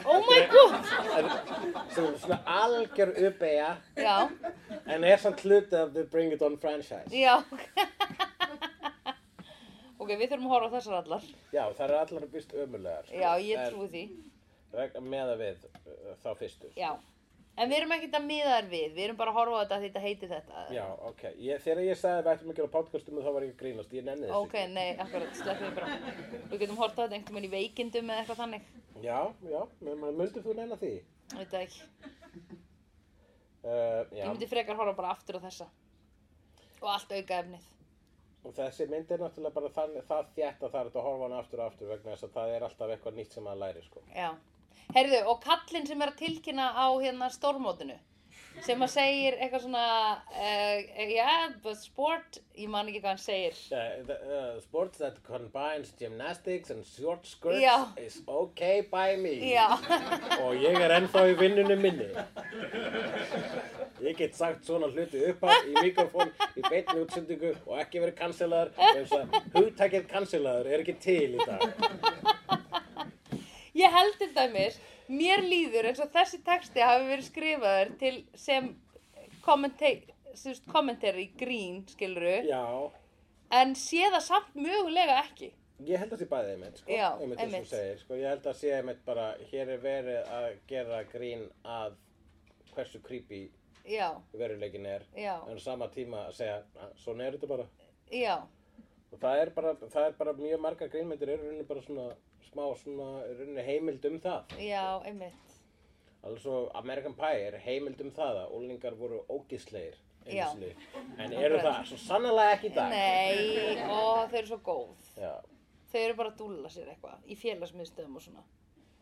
A: oh my god
B: En, sem er svona algjör uppeja,
A: Já,
B: en er samt hluti af The Bring It On franchise.
A: já Ok, við þurfum að horfa á þessar allar
B: Já, það eru allar vist ömulegar. sko,
A: Já, ég
B: en
A: trúi því
B: veg- Meða við uh, þá fyrstu.
A: Já, en við erum ekkert að miða þær við Við erum bara að horfa á þetta af því þetta heiti þetta
B: Já, ok. Ég, þegar ég sagði að við ættum að gera podcast um það, þá var ég að grínast. Ég nenni þessu.
A: Ok, nei, akkurat, sleppum við bara. Við getum hort á þetta einhvern veginn í veikindum eða eitthvað þannig.
B: Já, já, myndir þú nenni því?
A: Ég veit það ekki.
B: Uh, já.
A: Ég myndi frekar horfa bara aftur á þessa. Og allt auka efnið.
B: Og þessi mynd er náttúrulega bara þann, það þétt að það er þetta að horfa á hana aftur og aftur vegna þess að það er alltaf eitthvað nýtt sem maður læri sko.
A: Já. Heyrðu, og kallinn sem er að tilkynna á hérna stórmótinu. Sem að segir eitthvað svona, uh, yeah, but sport, ég man ekki hvað hann segir.
B: Uh, the, uh, sports that combines gymnastics and short skirts
A: Já.
B: is okay by me.
A: Já,
B: Og ég er ennþá í vinnunum minni. Ég get sagt svona hluti upphátt í mikrofón í beinni útsendingu og ekki verið kanselaður eins og hugtækið kanselaður er ekki til í dag.
A: ég held til dæmis, mér líður eins og þessi texti hafi verið skrifaður til sem kommentari grín, skilru.
B: Já,
A: en sé það samt mögulega ekki
B: Ég held að sé bæðið einmitt, sko,
A: Já,
B: einmitt eins og
A: einmitt.
B: þú segir, sko, ég held að sé einmitt bara, hér er verið að gera grín að hversu creepy
A: já,
B: veruleikin er,
A: Já.
B: en á sama tíma að segja, "Ah, svona er þetta bara,
A: já,
B: og það er bara, það er bara mjög margar grínmyndir eru í rauninni bara svona, smá svona, í rauninni heimild um það,
A: já, einmitt
B: alveg svo American Pie er heimild um það að úlingar voru ógisleir,
A: Já.
B: sinni, en eru það svo sannlega ekki í dag,
A: nei, ó, þau eru svo góð
B: já,
A: þau eru bara að dúlla sér eitthvað í félagsmiðstöðum og svona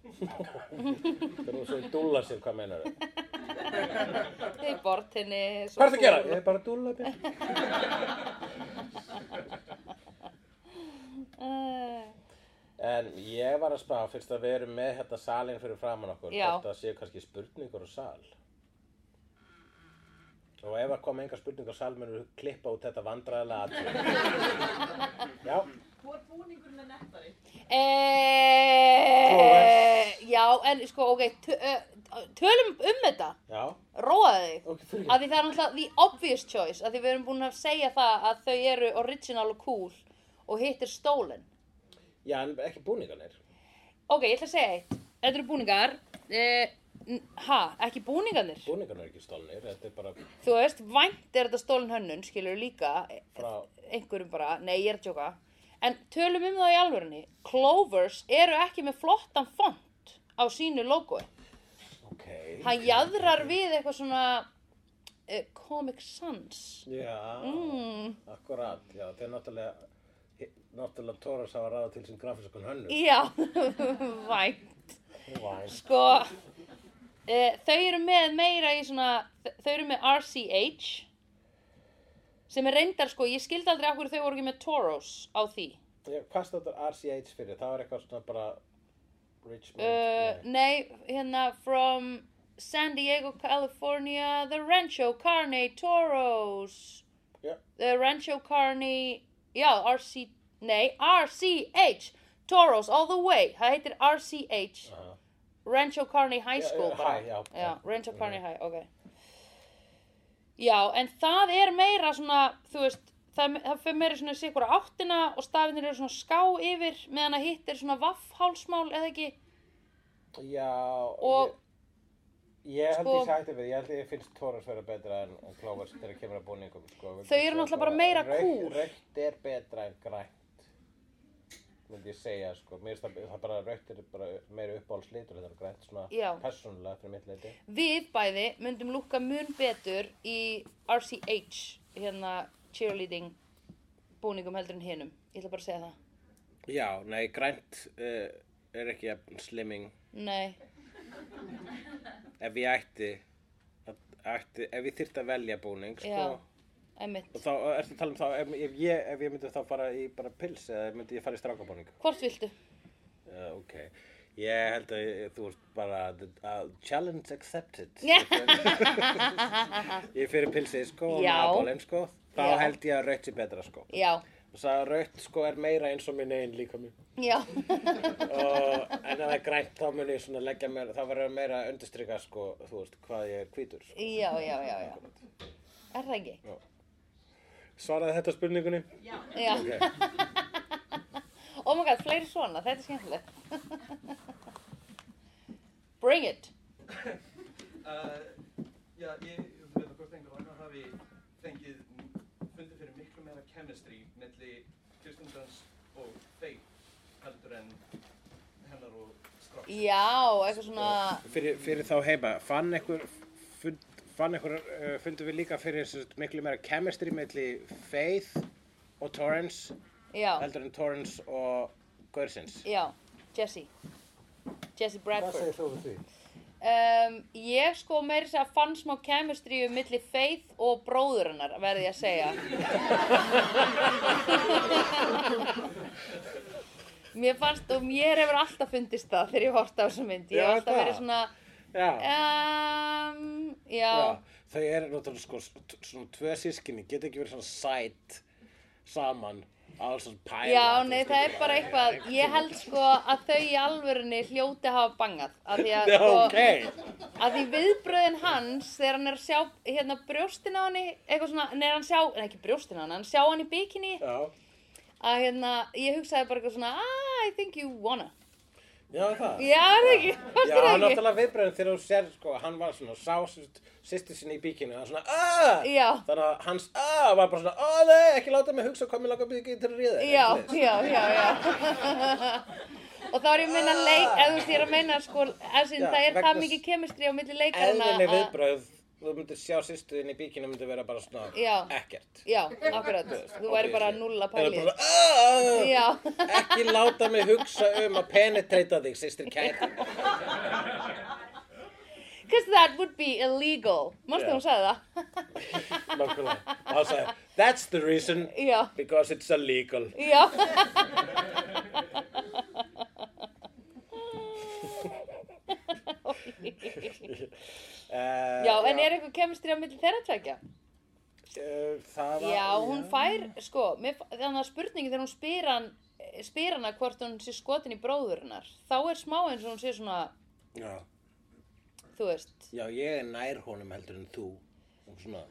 B: það er nú svo dúlar sér hvað meinar þau,
A: Í bortinni
B: Hvað ertu að gera? Ég er bara að dúlla mér.
A: Uh,
B: En ég var að spá fyrst að við erum með hérna salin fyrir framann okkur.
A: Já.
B: Hvort það séu kannski spurningar á sal. Og ef það kom engar spurningar á sal, munum við klippa út þetta vandræðilega aðtöð. Já,
C: Hvor búningurinn er nettari?
A: e já, en sko, ok, tö- ö, tölum um þetta,
B: já.
A: róaði þig.
B: Ok, fyrir
A: Af því það er náttúrulega the obvious choice, af því við erum búin að segja það að þau eru original og cool og hitt er stolen.
B: Já, en ekki búningarnir.
A: Ok, ég ætla að segja eitt. Þetta eru búningar. Eh, n- ha, ekki búningarnir.
B: Búningarnir er ekki stolnir. Þetta er bara
A: Þú veist, vænt er þetta stólin hönnun, skilur líka, e-
B: frá...
A: einhverjum bara, nei, ég er að tjóka. En tölum um það í alvörunni, Clovers eru ekki með flottan font á sínu logoi.
B: Ok.
A: Hann jaðrar við eitthvað svona eh, Comic Sans.
B: Já,
A: Mm.
B: akkurat. Já, þeir náttúrulega... Náttúrulega Tóras hafa ráða til sem grafiskun hönnu.
A: Já, vænt.
B: Væn.
A: Sko, e, þau eru með meira í svona, þau eru með RCH sem er reyndar sko, ég skildi aldrei af hverju þau voru ekki með Toros á því.
B: Ég- Hvað stóttur RCH fyrir? Það var eitthvað svona bara Richmond,
A: Uh, nei, hérna, from San Diego, California, the Rancho Carne Toros.
B: Já.
A: The Rancho Carne, já, RC, nei, RCH, Toros all the way, það heitir RCH,
B: Aha.
A: Rancho Carne High
B: Já,
A: School
B: já,
A: bara.
B: hæ, já,
A: Já, Rancho
B: Mhm.
A: Carney High, ok. Já, en það er meira svona, þú veist, það, það fyrir meira svona sikkur áttina og stafinir eru svona ská yfir meðan að hitt er svona vaffhálsmál eða ekki.
B: Já,
A: Og-
B: ég, ég held
A: sko-
B: ég sætti við, ég held ég finnst Tóras vera betra en, en Clovers þegar kemur að búningum sko.
A: Þau eru náttúrulega bara meira kúl.
B: Raukt er betra en grænt, myndi ég segja sko, mér finnst það, það bara raukt er bara meira uppáhaldslitur heldur en grænt svona
A: Já.
B: persónulega fyrir mitt leiti.
A: Við bæði myndum lúka mun betur í RCH, hérna cheerleading búningum heldur en hinum. Ég ætla bara að segja það.
B: Já, nei, grænt uh, er ekki jafn slimming
A: Nei,
B: ef ég ætti, ætti ef ég þyrfti að velja búning sko.
A: já, emitt.
B: Og þá ertu að tala um þá, ef, ef, ég, ef ég myndi þá fara í bara pils eða myndi ég fara í strákabóning?
A: Hvort viltu?
B: Uh, ok, ég held að ég- þú ert bara, uh, challenge accepted.
A: Já.
B: Ég fer- ég fyrir pilsið sko og
A: Já.
B: maðbólinn sko, þá
A: Já.
B: held ég að rautt sé betra sko.
A: Já,
B: Og svo að rautt sko er meira eins og minn einn líka mér.
A: já,
B: Og en ef það er grænt þá mun ég svona leggja mér, þá verður meira að undirstrykka sko, þú veist, hvað ég er hvítur. Sko.
A: já, já, já, já. Er það ekki?
B: Svaraði þetta spurningunni?
C: Já.
A: Já.
B: Ok.
A: Oh my god, fleiri svona, þetta er skemmtilegt. Bring it.
D: Uh, já, ég vil veit hvort einhver annar hafi fengið fundið fyrir miklu meira chemistry milli Kristindans og þeir heldur en hennar og strax.
A: Já, eitthvað svona,
B: fyrir, fyrir þá heima fann einhver fund, fann einhver, uh, fundum við líka fyrir sem sagt, miklu meira chemistry melli Faith og Torrance
A: já,
B: heldur en Torrance og Gaursins
A: já, Jesse. Jesse Bradford.
B: þú við því?
A: Um, ég sko meiri sér að fann smá kemistríu milli Faith og bróður hennar, verði ég að segja. mér fannst og mér hefur alltaf fundist það þegar ég horta á þessu mynd. Ég
B: Já,
A: hef alltaf
B: það.
A: verið svona,
B: Já,
A: um, já.
B: já, þau eru náttúrulega sko s- t- svona tvö sískinni, geta ekki verið svona sæt saman alls svona pæla
A: Já, nei, það er bara eitthvað, ég held sko að þau í alvörunni hljóti að hafa bangað, að því að,
B: Já,
A: sko,
B: ok,
A: að því viðbröðin hans, þegar hann er að sjá, hérna, brjóstin á henni, eitthvað svona, nei, hann sjá, nei, ekki brjóstin á henni, hann sjá hann í bikini,
B: já,
A: að hérna, ég hugsaði bara eitthvað svona, ah, I think you wanna,
B: já það
A: já, er það ekki, fannst
B: Já,
A: þér það ekki?
B: náttúrulega viðbröðin þegar þú sér, sko, hann var svona, sá sýstir sinni í bíkinu, hann svona, aaaah!
A: Já.
B: Þannig að hans aaaah var bara svona, aaaah, nei, ekki láta mig hugsa hvað mér langar bíkinu til að ríða. þig,"
A: Já,
B: eitthvað svoleiðis.
A: já, já, já. Og þá er ég að meina leik, eða þú veist, ég er að meina sko, eða sín,
B: Já,
A: það er
B: vegna
A: það
B: s-
A: mikið kemistri á milli leikarana
B: Eðlileg viðbröð, þú myndir sjá sýstir þín í bíkinu, myndir vera bara svona,
A: Já.
B: ekkert.
A: Já, akkurat, þú væri bara null að
B: Það
A: pæli
B: er bara svona, aaaah!
A: Já,
B: Ekki láta mig hugsa um að penetrata þig, sýstir kært.
A: Because that would be illegal. Manstu
B: Já.
A: yeah. hún sagði það?
B: nákvæmlega. Og hann sagði, that's the reason,
A: Já,
B: because it's illegal.
A: já.
B: Uh,
A: já, en er eitthvað kemistri á milli þeirra tvekja?
B: Uh, það var...
A: Já, hún fær, sko, mér, fa- þannig að spurningi þegar hún spyr, hann, spyr hana hvort hún sé skotin í bróðurinnar, þá er smá eins og hún sé svona,
B: Já,
A: þú veist,
B: já, ég er nær honum heldur en þú. Og svona,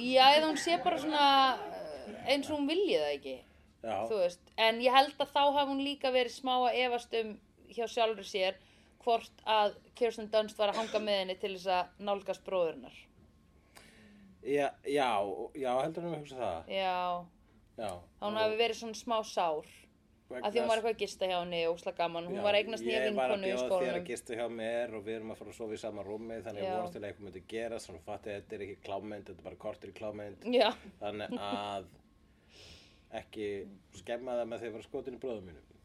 A: já, eða hún sé bara svona eh, eins og hún vilji það ekki,
B: já.
A: þú veist, en ég held að þá hafi hún líka verið smá að efast um hjá sjálfur sér hvort að Kirsten Dunst var að hanga með henni til þess að nálgast bróðurinnar.
B: Já, já, já, heldur en við hugsa það.
A: Já,
B: Já.
A: hún hafi verið svona smá sár,
B: Vegna
A: að því hún var
B: þess-
A: eitthvað að gista hjá henni og ósla gaman, hún
B: Já,
A: var að eignast nýja vinkonu
B: Ég
A: í
B: var að bjóða þér
A: skólanum.
B: að gista hjá mér og við erum að fara að sofa í sama rúmi þannig
A: Já.
B: að vonast til að eitthvað myndi gera þannig að fatti að þetta er ekki klámynd, þetta er bara kortur í klámynd
A: Já.
B: þannig að ekki skemma það með því að vera skotin í bróðum mínum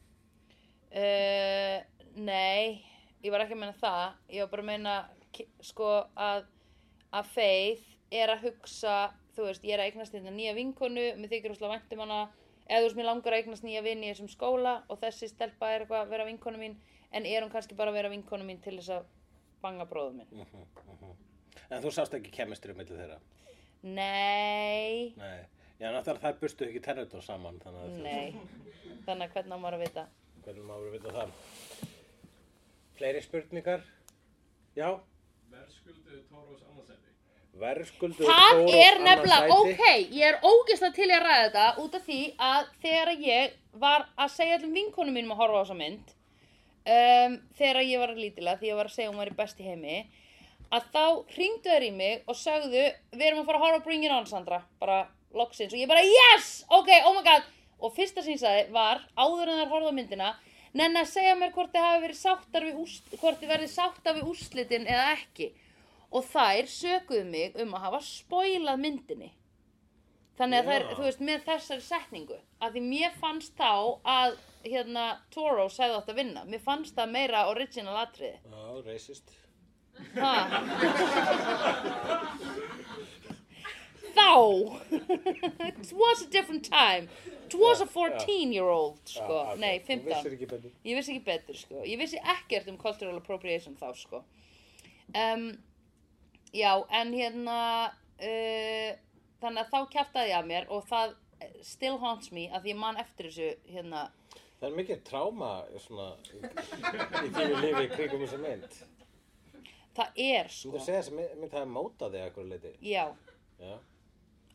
A: Uh, nei, ég var ekki að meina það. Ég var bara að meina ki- sko að, að Faith er að hugsa, þú veist, ég er að eignast þetta nýja vinkonu, mér þykir úrslega vænt um hana, eða þú veist, mér langar að eignast nýja vini í þessum skóla og þessi stelpa er eitthvað að vera vinkonu mín, en er hún kannski bara að vera vinkonu mín til þess að banga bróðum
B: Mm.
A: minn?
B: En þú sást ekki kemistri um milli þeirra
A: Nei,
B: Nei, já náttúrulega það burstu ekki terrordur saman þannig að
A: nei, þannig að hvernig á maður að vita?
B: hvernig maður verið að vita það Fleiri spurningar? Já,
D: Verðskuldu Tóros annarsæti.
B: verðskuldur Þór
A: Það
B: á
A: er
B: annað
A: nefnilega,
B: sæti.
A: ok, ég er ógeðslega til í að ræða þetta út af því að þegar ég var að segja allum vinkonum mínum að horfa á þessa mynd um, þegar ég var lítilega, því ég var að segja hún væri best í heimi að þá hringdu þær í mig og sögðu við erum að fara að horfa á Bring It On Sandra bara loksins og ég bara yes, ok, oh my god og fyrsta sem ég sagði var áður en þær horfðu á myndina nenn að segja mér hvort þið hafi verið sáttar við úst, hvort þið verið sáttar við úrslitin eða ekki og þær sökuðu mig um að hafa spoilað myndinni þannig að þær,
B: Já.
A: þú veist, með þessari setningu að því mér fannst þá að hérna, Toro segði átt að vinna mér fannst það meira original atriði
B: Já, racist
A: Sko, Ha? Þá It was a different time It was a 14 year old sko.
B: Já,
A: Nei,
B: þú vissir
A: 15
B: ekki betur.
A: Ég vissi ekki betur sko. Ég vissi ekkert um cultural appropriation þá sko. um, Já, en hérna uh, Þannig að þá kjaftaði ég að mér og það eh, still haunts me að því ég man eftir þessu hérna
B: Það er mikið tráma eh, svona, í í þínu lífi í kringum þessa mynd.
A: Það er
B: Þú
A: sko
B: þurfir að segja þessi mynd, mynd hafi mótað þig að hverju leiti.
A: Já
B: Já.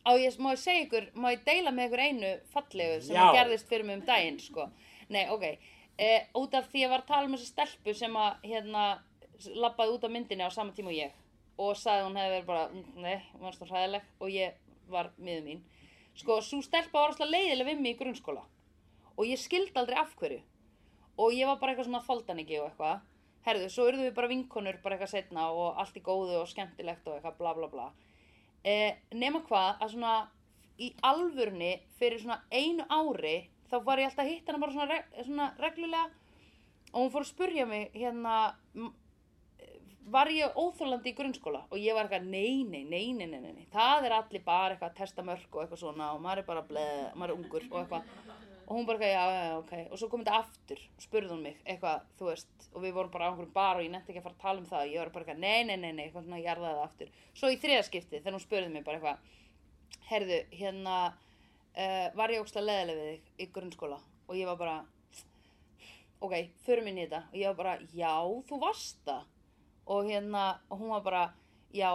A: á ég, má ég segja ykkur, má ég deila með ykkur einu fallegu sem
B: Já.
A: gerðist fyrir mig um daginn, sko. Nei, ok, e, út af því ég var að tala um þessi stelpu sem að, hérna, s- labbaði út af myndinni á sama tíma og ég og sagði að hún hefði verið bara, "Mm, nei, hún var svona hræðileg og ég var miður mín. Sko, svo stelpa var alltaf leiðileg við mig í grunnskóla og ég skildi aldrei af hverju og ég var bara eitthvað svona þoldan ekki og eitthvað herðu, svo urðum við bara vinkonur bara eitthvað setna og allt í góðu og skemmtilegt og eitthvað bla bla bla eh, nema hvað að svona í alvörni fyrir svona einu ári þá var ég alltaf að hitta hana bara svona, reg, svona reglulega og hún fór að spurja mig hérna m- var ég óþólandi í grunnskóla og ég var eitthvað nei, nei, nei, nei, nei, nei, nei. það er allir bara eitthvað að testa mörk og eitthvað svona og maður er bara bleð, maður er ungur og eitthvað og hún bara eitthvað, já, já, já, ok og svo kom þetta aftur og spurði hún mig eitthvað, þú veist og við vorum bara á einhverjum bar og ég nefndi ekki að fara að tala um það og ég var bara eitthvað, nei, nei, nei, nei, eitthvað svona jarðaði það aftur svo í þriðaskipti þegar hún spurði mig bara eitthvað herðu, hérna uh, var ég ókslega leðileg við þig í grunnskóla og ég var bara ok, förum inn í þetta og ég var bara, já, þú varst það og hérna, og hún var bara já,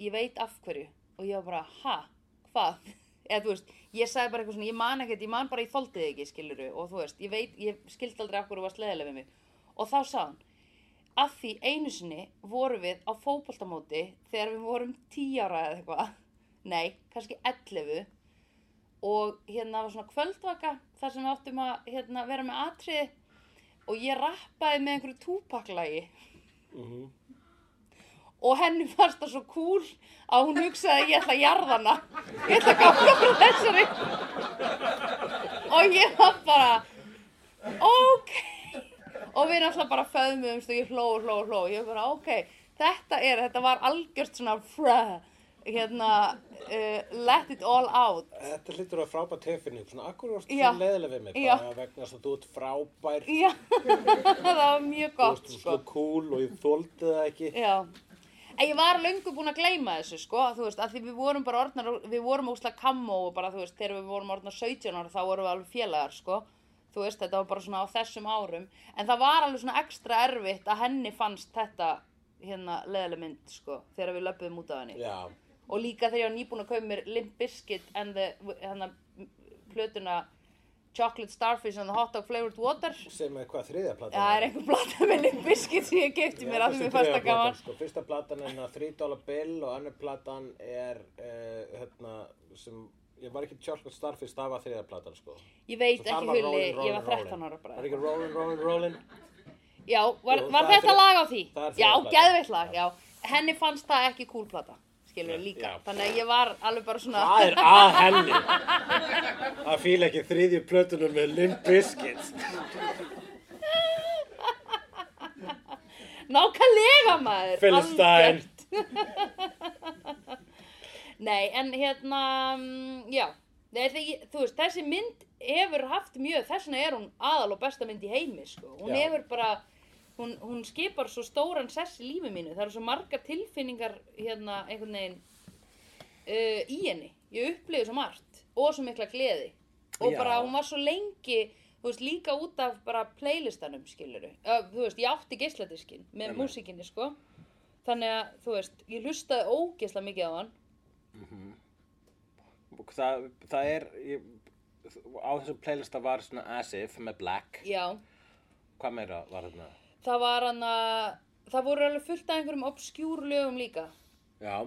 A: ég veit af hverju og ég var bara, ha, hvað eða þú veist, ég sagði bara eitthvað svona ég man ekkert, ég man bara, ég þoldi þig ekki, skiluru og þú veist, ég veit, ég skildi aldrei af hverju þú varst leðileg við mig og þá sagði hún að því einu sinni vorum við á fótboltamóti þegar við vorum 10 ára eða eitthvað nei, kannski 11 og hérna var svona kvöldvaka þar sem við áttum að hérna, vera með atriði og ég rappaði með einhverju túpaklagi og henni fannst það svo cool að hún hugsaði að ég ætla að jarða hana ég ætla að ganga fyrir þessari og ég var bara ok og við náttúrulega bara föðmumst og ég hló og hló og hló ég var bara ok þetta er, þetta var algjört svona fra, hérna, uh, let it all out.
B: Þetta hlýtur að frábært tefinni, svona akkur varst
A: Já.
B: svona leiðileg við mig,
A: Já.
B: bara vegna þess að þú ert frábær,
A: Já, það var mjög
B: þú
A: gott,
B: ert
A: sko.
B: svo cool og ég þóldi það ekki.
A: Já. En ég var löngu búin að gleyma þessu, sko, þú veist, að því við vorum bara orðnar, við vorum óslega kammo og bara, þú veist, þegar við vorum orðnar 17 ára þá vorum við alveg félagar, sko, þú veist, þetta var bara svona á þessum árum, en það var alveg svona ekstra erfitt að henni fannst þetta, hérna, leðileg mynd, sko, þegar við löpum út af henni.
B: Já,
A: Og líka þegar ég var nýbúin að kaupa mér Limp Bizkit and the, hérna, plötuna Chocolate Starfish and the Hot Dog Flavored Water.
B: sem er hvað þriðja platan
A: Það er einhver blata með Limp Bizkit sem ég kefti mér að því mér fannst það gaman.
B: Sko, fyrsta platan er hérna 3 dollar bill og önnur platan er, uh, hérna, sem, ég var ekki tjálkast starfist, það var þriðja platan, sko.
A: Ég veit
B: Svo þar
A: ekki
B: var
A: hulli,
B: Rollin',
A: ég var
B: Rollin',
A: 13
B: Rollin'.
A: ára
B: Var
A: bara.
B: ekki rollin, rollin, rollin?
A: Já, var,
B: Jú, það
A: var
B: er
A: þetta
B: þriðja-
A: lag á því?
B: það er
A: Já,
B: þriðja lag.
A: geðveitt lag, já. Henni fannst það ekki kúlplata, skilur við
B: Nei,
A: líka.
B: já.
A: Þannig að ég var alveg bara svona,
B: Það er að henni. Það fíla ekki þriðju plötunum með Limp Bizkit.
A: nákvæmlega maður.
B: Philistine.
A: algjört. Nei, en hérna, mm, já. Nei, því, þú veist, þessi mynd hefur haft mjög, þess vegna er hún aðal og besta mynd í heimi, sko. Hún
B: Já.
A: hefur bara, hún, hún skipar svo stóran sess í lífi mínu. Það eru svo margar tilfinningar, hérna, einhvern veginn, uh, í henni. Ég upplifi svo margt og svo mikla gleði. Og
B: Já.
A: bara, hún var svo lengi, þú veist, líka út af bara playlistanum, skiluru. Uh, þú veist, ég átti geisladiskinn með
B: Einmitt.
A: músikinni, sko. Þannig að, þú veist, ég hlustaði ógeisla mikið á hann.
B: Það, það er, ég, á þessum playlista var svona As If með Black.
A: Já.
B: Hvað meira var þarna?
A: Það var hann að, það voru alveg fullt af einhverjum obskjúr lögum líka.
B: Já.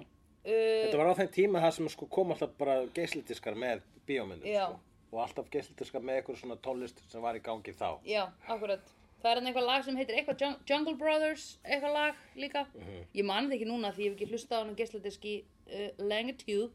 A: Uh,
B: Þetta var á þeim tíma það sem sko kom alltaf bara geislidiskar með bíómyndum.
A: Já.
B: Sko. Og alltaf geislidiskar með eitthvað svona tónlist sem var í gangi þá.
A: já, akkurat. Það er hann eitthvað lag sem heitir eitthvað Jung- Jungle Brothers, eitthvað lag líka.
B: Mhm.
A: Ég man þetta ekki núna því ég hef ekki hlustað á hann geisladiski uh, lengi tíð.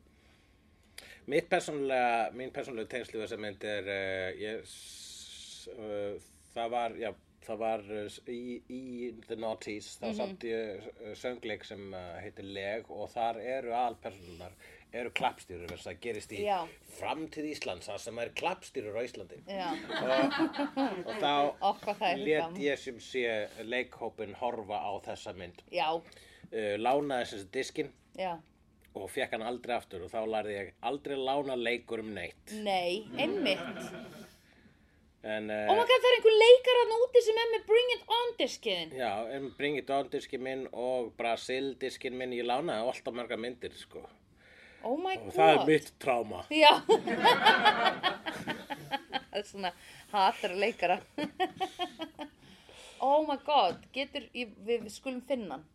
B: Mitt persónulega, mín persónulega tengslu þessa mynd er, uh, ég, s- uh, það var, já, það var uh, s- í, í The Naughties,
A: Mhm.
B: þá mm samt ég uh, söngleik sem uh, heitir Leg og þar eru aðalpersónunar, eru klappstýrur, þess að það gerist í
A: Já.
B: framtíð Íslands, það sem er klappstýrur á Íslandi.
A: Já,
B: Og þá
A: okkar það er
B: let
A: gaman.
B: ég sem sé leikhópin horfa á þessa mynd,
A: Já,
B: uh, lánaði þessi diskinn
A: já.
B: og fekk hann aldrei aftur og þá lærði ég aldrei lána leikur um neitt.
A: Nei, einmitt.
B: En,
A: Oh my
B: uh,
A: god, það er einhver leikar hann úti sem er með Bring It On diskiðin.
B: já, en Bring It On diskin minn og Brasil diskin minn, ég lánaði alltaf marga myndir, sko.
A: Oh my god.
B: Og það er mitt tráma.
A: Já. það er svona hatara leikara. oh my god, getur, ég, við, við skulum finna hann.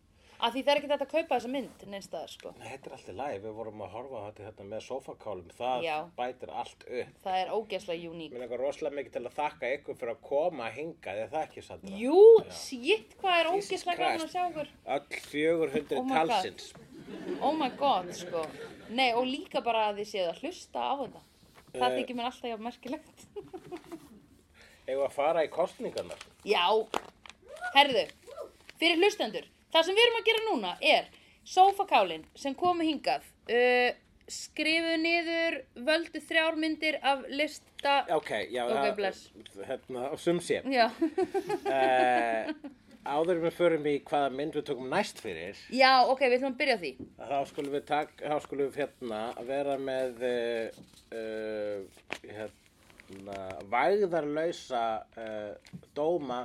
A: Af því það er ekki þetta að kaupa þessa mynd neinstaðar sko.
B: Nei, Þetta er alltaf læg, við vorum að horfa á þetta hérna með sofakálum, það
A: Já.
B: bætir allt upp.
A: Það er ógeðslega uník.
B: Mér langar rosalega mikið til að þakka ykkur fyrir að koma hingað, er það ekki Sandra?
A: Jú, shit, hvað er
B: Jesus
A: ógeðslega gaman
B: Christ.
A: að sjá okkur.
B: Öll 400
A: Oh my God.
B: talsins.
A: Oh my god, sko. Nei, og líka bara að þið séð að hlusta á þetta. Það
B: Eh.
A: þykir mér alltaf jafn merkilegt.
B: Eigum að fara í kostningarnar.
A: Já, herðu, fyrir hlustendur, það sem við erum að gera núna er sófakálinn sem komu hingað, uh, skrifu niður, völdu þrjármyndir af lista,
B: Ok, já.
A: Ok,
B: það-
A: bless.
B: Hérna, á sumsé.
A: já,
B: Uh, áður en við förum í hvaða mynd við tökum næst fyrir.
A: já, ok, við ætlum að byrja á því,
B: Þá skulum við, tak, þá skulum við hérna að vera með uh, uh, hérna, vægðarlausa uh, dóma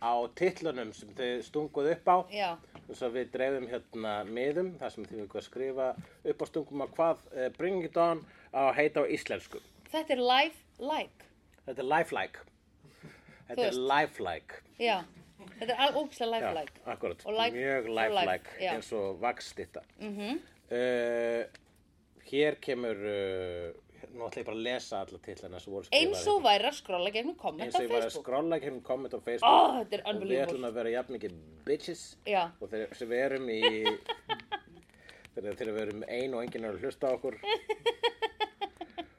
B: á titlunum sem þið stunguð upp á
A: já,
B: og svo við dreifum hérna miðum þar sem þið við að skrifa upp á stungum á hvað uh, Bring It On á að heita á íslensku.
A: þetta er live like,
B: Þetta er lifelike.
A: Þú
B: Þetta er
A: veist.
B: lifelike.
A: já, þetta er alveg ógislega
B: Já,
A: live like,
B: akkurat,
A: Og like-
B: mjög
A: og
B: lifelike
A: like, já. Mhm.
B: eins og vakstitta mm Hér kemur uh, nú ætla ég bara að lesa alla titlana sem voru skrifaðir
A: eins og væri að skrolla gegnum
B: hérna.
A: komment
B: eins og
A: á
B: ég var að
A: Facebook,
B: skrolla hérna komment á Facebook
A: Ó, þetta er
B: og við
A: unbelievable.
B: ætlum að vera jafn mikið bitches
A: Já.
B: og þegar sem við erum í þegar, þegar við erum um ein og enginn er að hlusta á okkur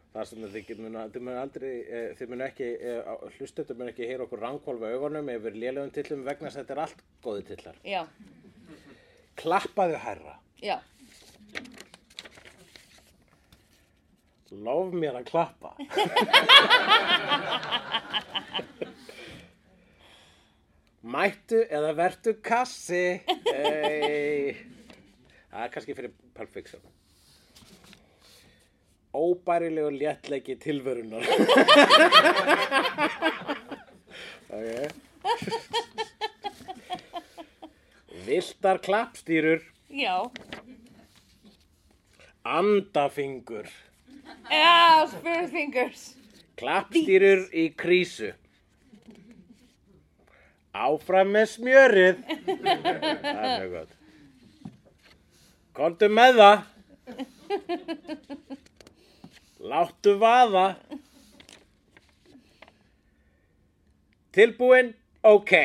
B: þar sem þið get- munu, þið munu aldrei eh, þið munu ekki, eh, hlustendur munu ekki heyra okkur rangkólfa augunum yfir lélegum tillum vegna þess að þetta er allt góði tillar
A: já,
B: klappaðu herra
A: já,
B: lof mér að klappa mættu eða vertu kassi hey. það er kannski fyrir Pulp Fiction óbærilegu léttleiki tilverunar ok viltar klappstýrur
A: já,
B: andafingur
A: já, spurfingers,
B: Klappstýrur í krísu. Áfram með smjörið. Það er mjög gott. Komdu með það. Láttu vaða. Tilbúin, ok.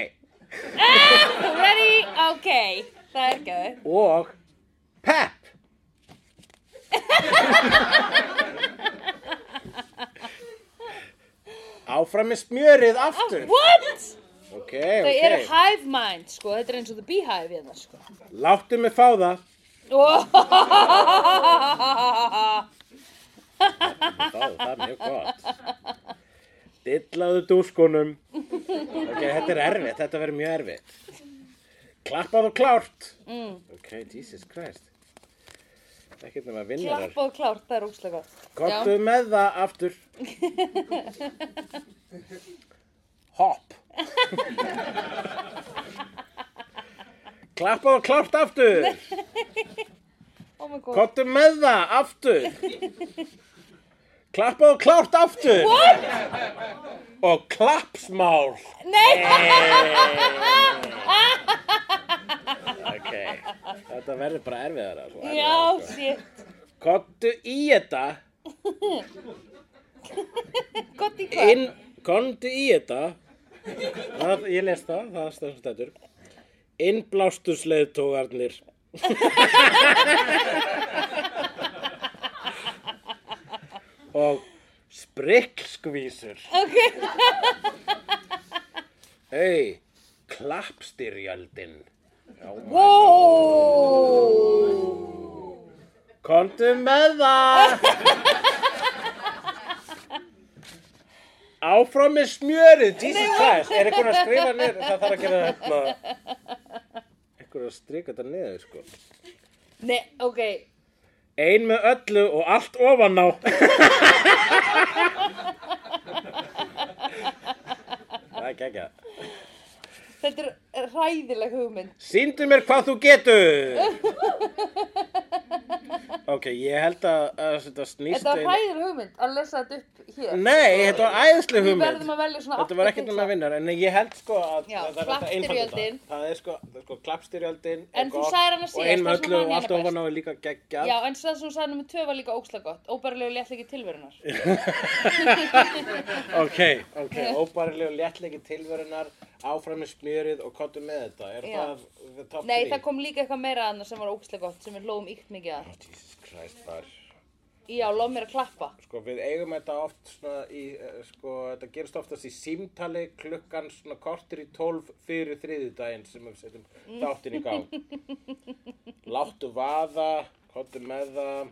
A: ready, ok, það er gæði,
B: Og pepp. Áfram með smjörið aftur.
A: what?
B: Ok,
A: Þau eru
B: ok.
A: hive mind, sko, þetta er eins og the beehive hérna, sko.
B: Láttu mig fá það. Það, það er mjög gott. Dillaðu dúskunum. Ok, þetta er erfitt. Þetta verður mjög erfitt. Klappað og klárt. Mm. Ok, Jesus Christ. Ekkert nema vinnarar.
A: Klapp og klárt, það er óslega gott.
B: Komdu með það aftur. Hopp. Klappað og klárt aftur.
A: Oh my god.
B: Komdu með það aftur Klappað og klárt aftur
A: What?
B: Og klappsmál
A: Nei!
B: Ok, þetta verður bara erfiðara sko,
A: Já, shit.
B: erfiðara. Komdu í þetta
A: Gott í hvað?
B: inn, Komdu í þetta það, Ég les það, það er stöðum stættur Innblástusleiðtógarnir Og sprikkskvísur
A: Ok.
B: Hei, klappstyrjaldin.
A: Wow!
B: Komdu með það! Áfram með smjörið, Jesus Christ. Er einhvern að skrifa niður? Það þarf að gera þetta. Einhvern að strika þetta niður, sko.
A: Nei, ok.
B: Ein með öllu og allt ofan á. Það er geggjað.
A: Þetta er ræðileg hugmynd.
B: Sýndu mér hvað þú getur! ok, ég held að, að þetta snýst
A: Þetta var
B: eiginlega-
A: ræðileg hugmynd að lesa þetta upp hér.
B: Nei, þetta var æðislega
A: Við
B: hugmynd.
A: verðum að velja svona
B: Þetta var ekkert nema vinnar, en ég held sko að
A: Já,
B: að það er þetta einfaldan.
A: klappstyrjöldin.
B: Það er sko, það er sko klappstyrjöldin er
A: En þú
B: gott
A: sagðir
B: og
A: hana
B: ein
A: síðast, þess vegna
B: möllu
A: man ég
B: og allt
A: hana best.
B: ofan á er líka geggjað.
A: Já, en það sem þú sagði nummið tvö var líka óslega gott. Óbærilegu léttlegi tilverunar.
B: Ok, ok, óbærilegu léttlegi tilverunar, áfram með smjörið og kottu með þetta. Er
A: Já.
B: það the top
A: Nei,
B: three? Oh,
A: það kom líka eitthvað meira annað sem var óslega gott sem við hlóðum ykt mikið að.
B: Jesus Christ, það er...
A: Já, lof mér að klappa.
B: Sko við eigum þetta oft svona í, eh, sko þetta gerist oftast í símtali klukkan svona kortir í tólf fyrir þriðjudaginn sem við setjum þáttinn í gang. Láttu vaða, kottu með það,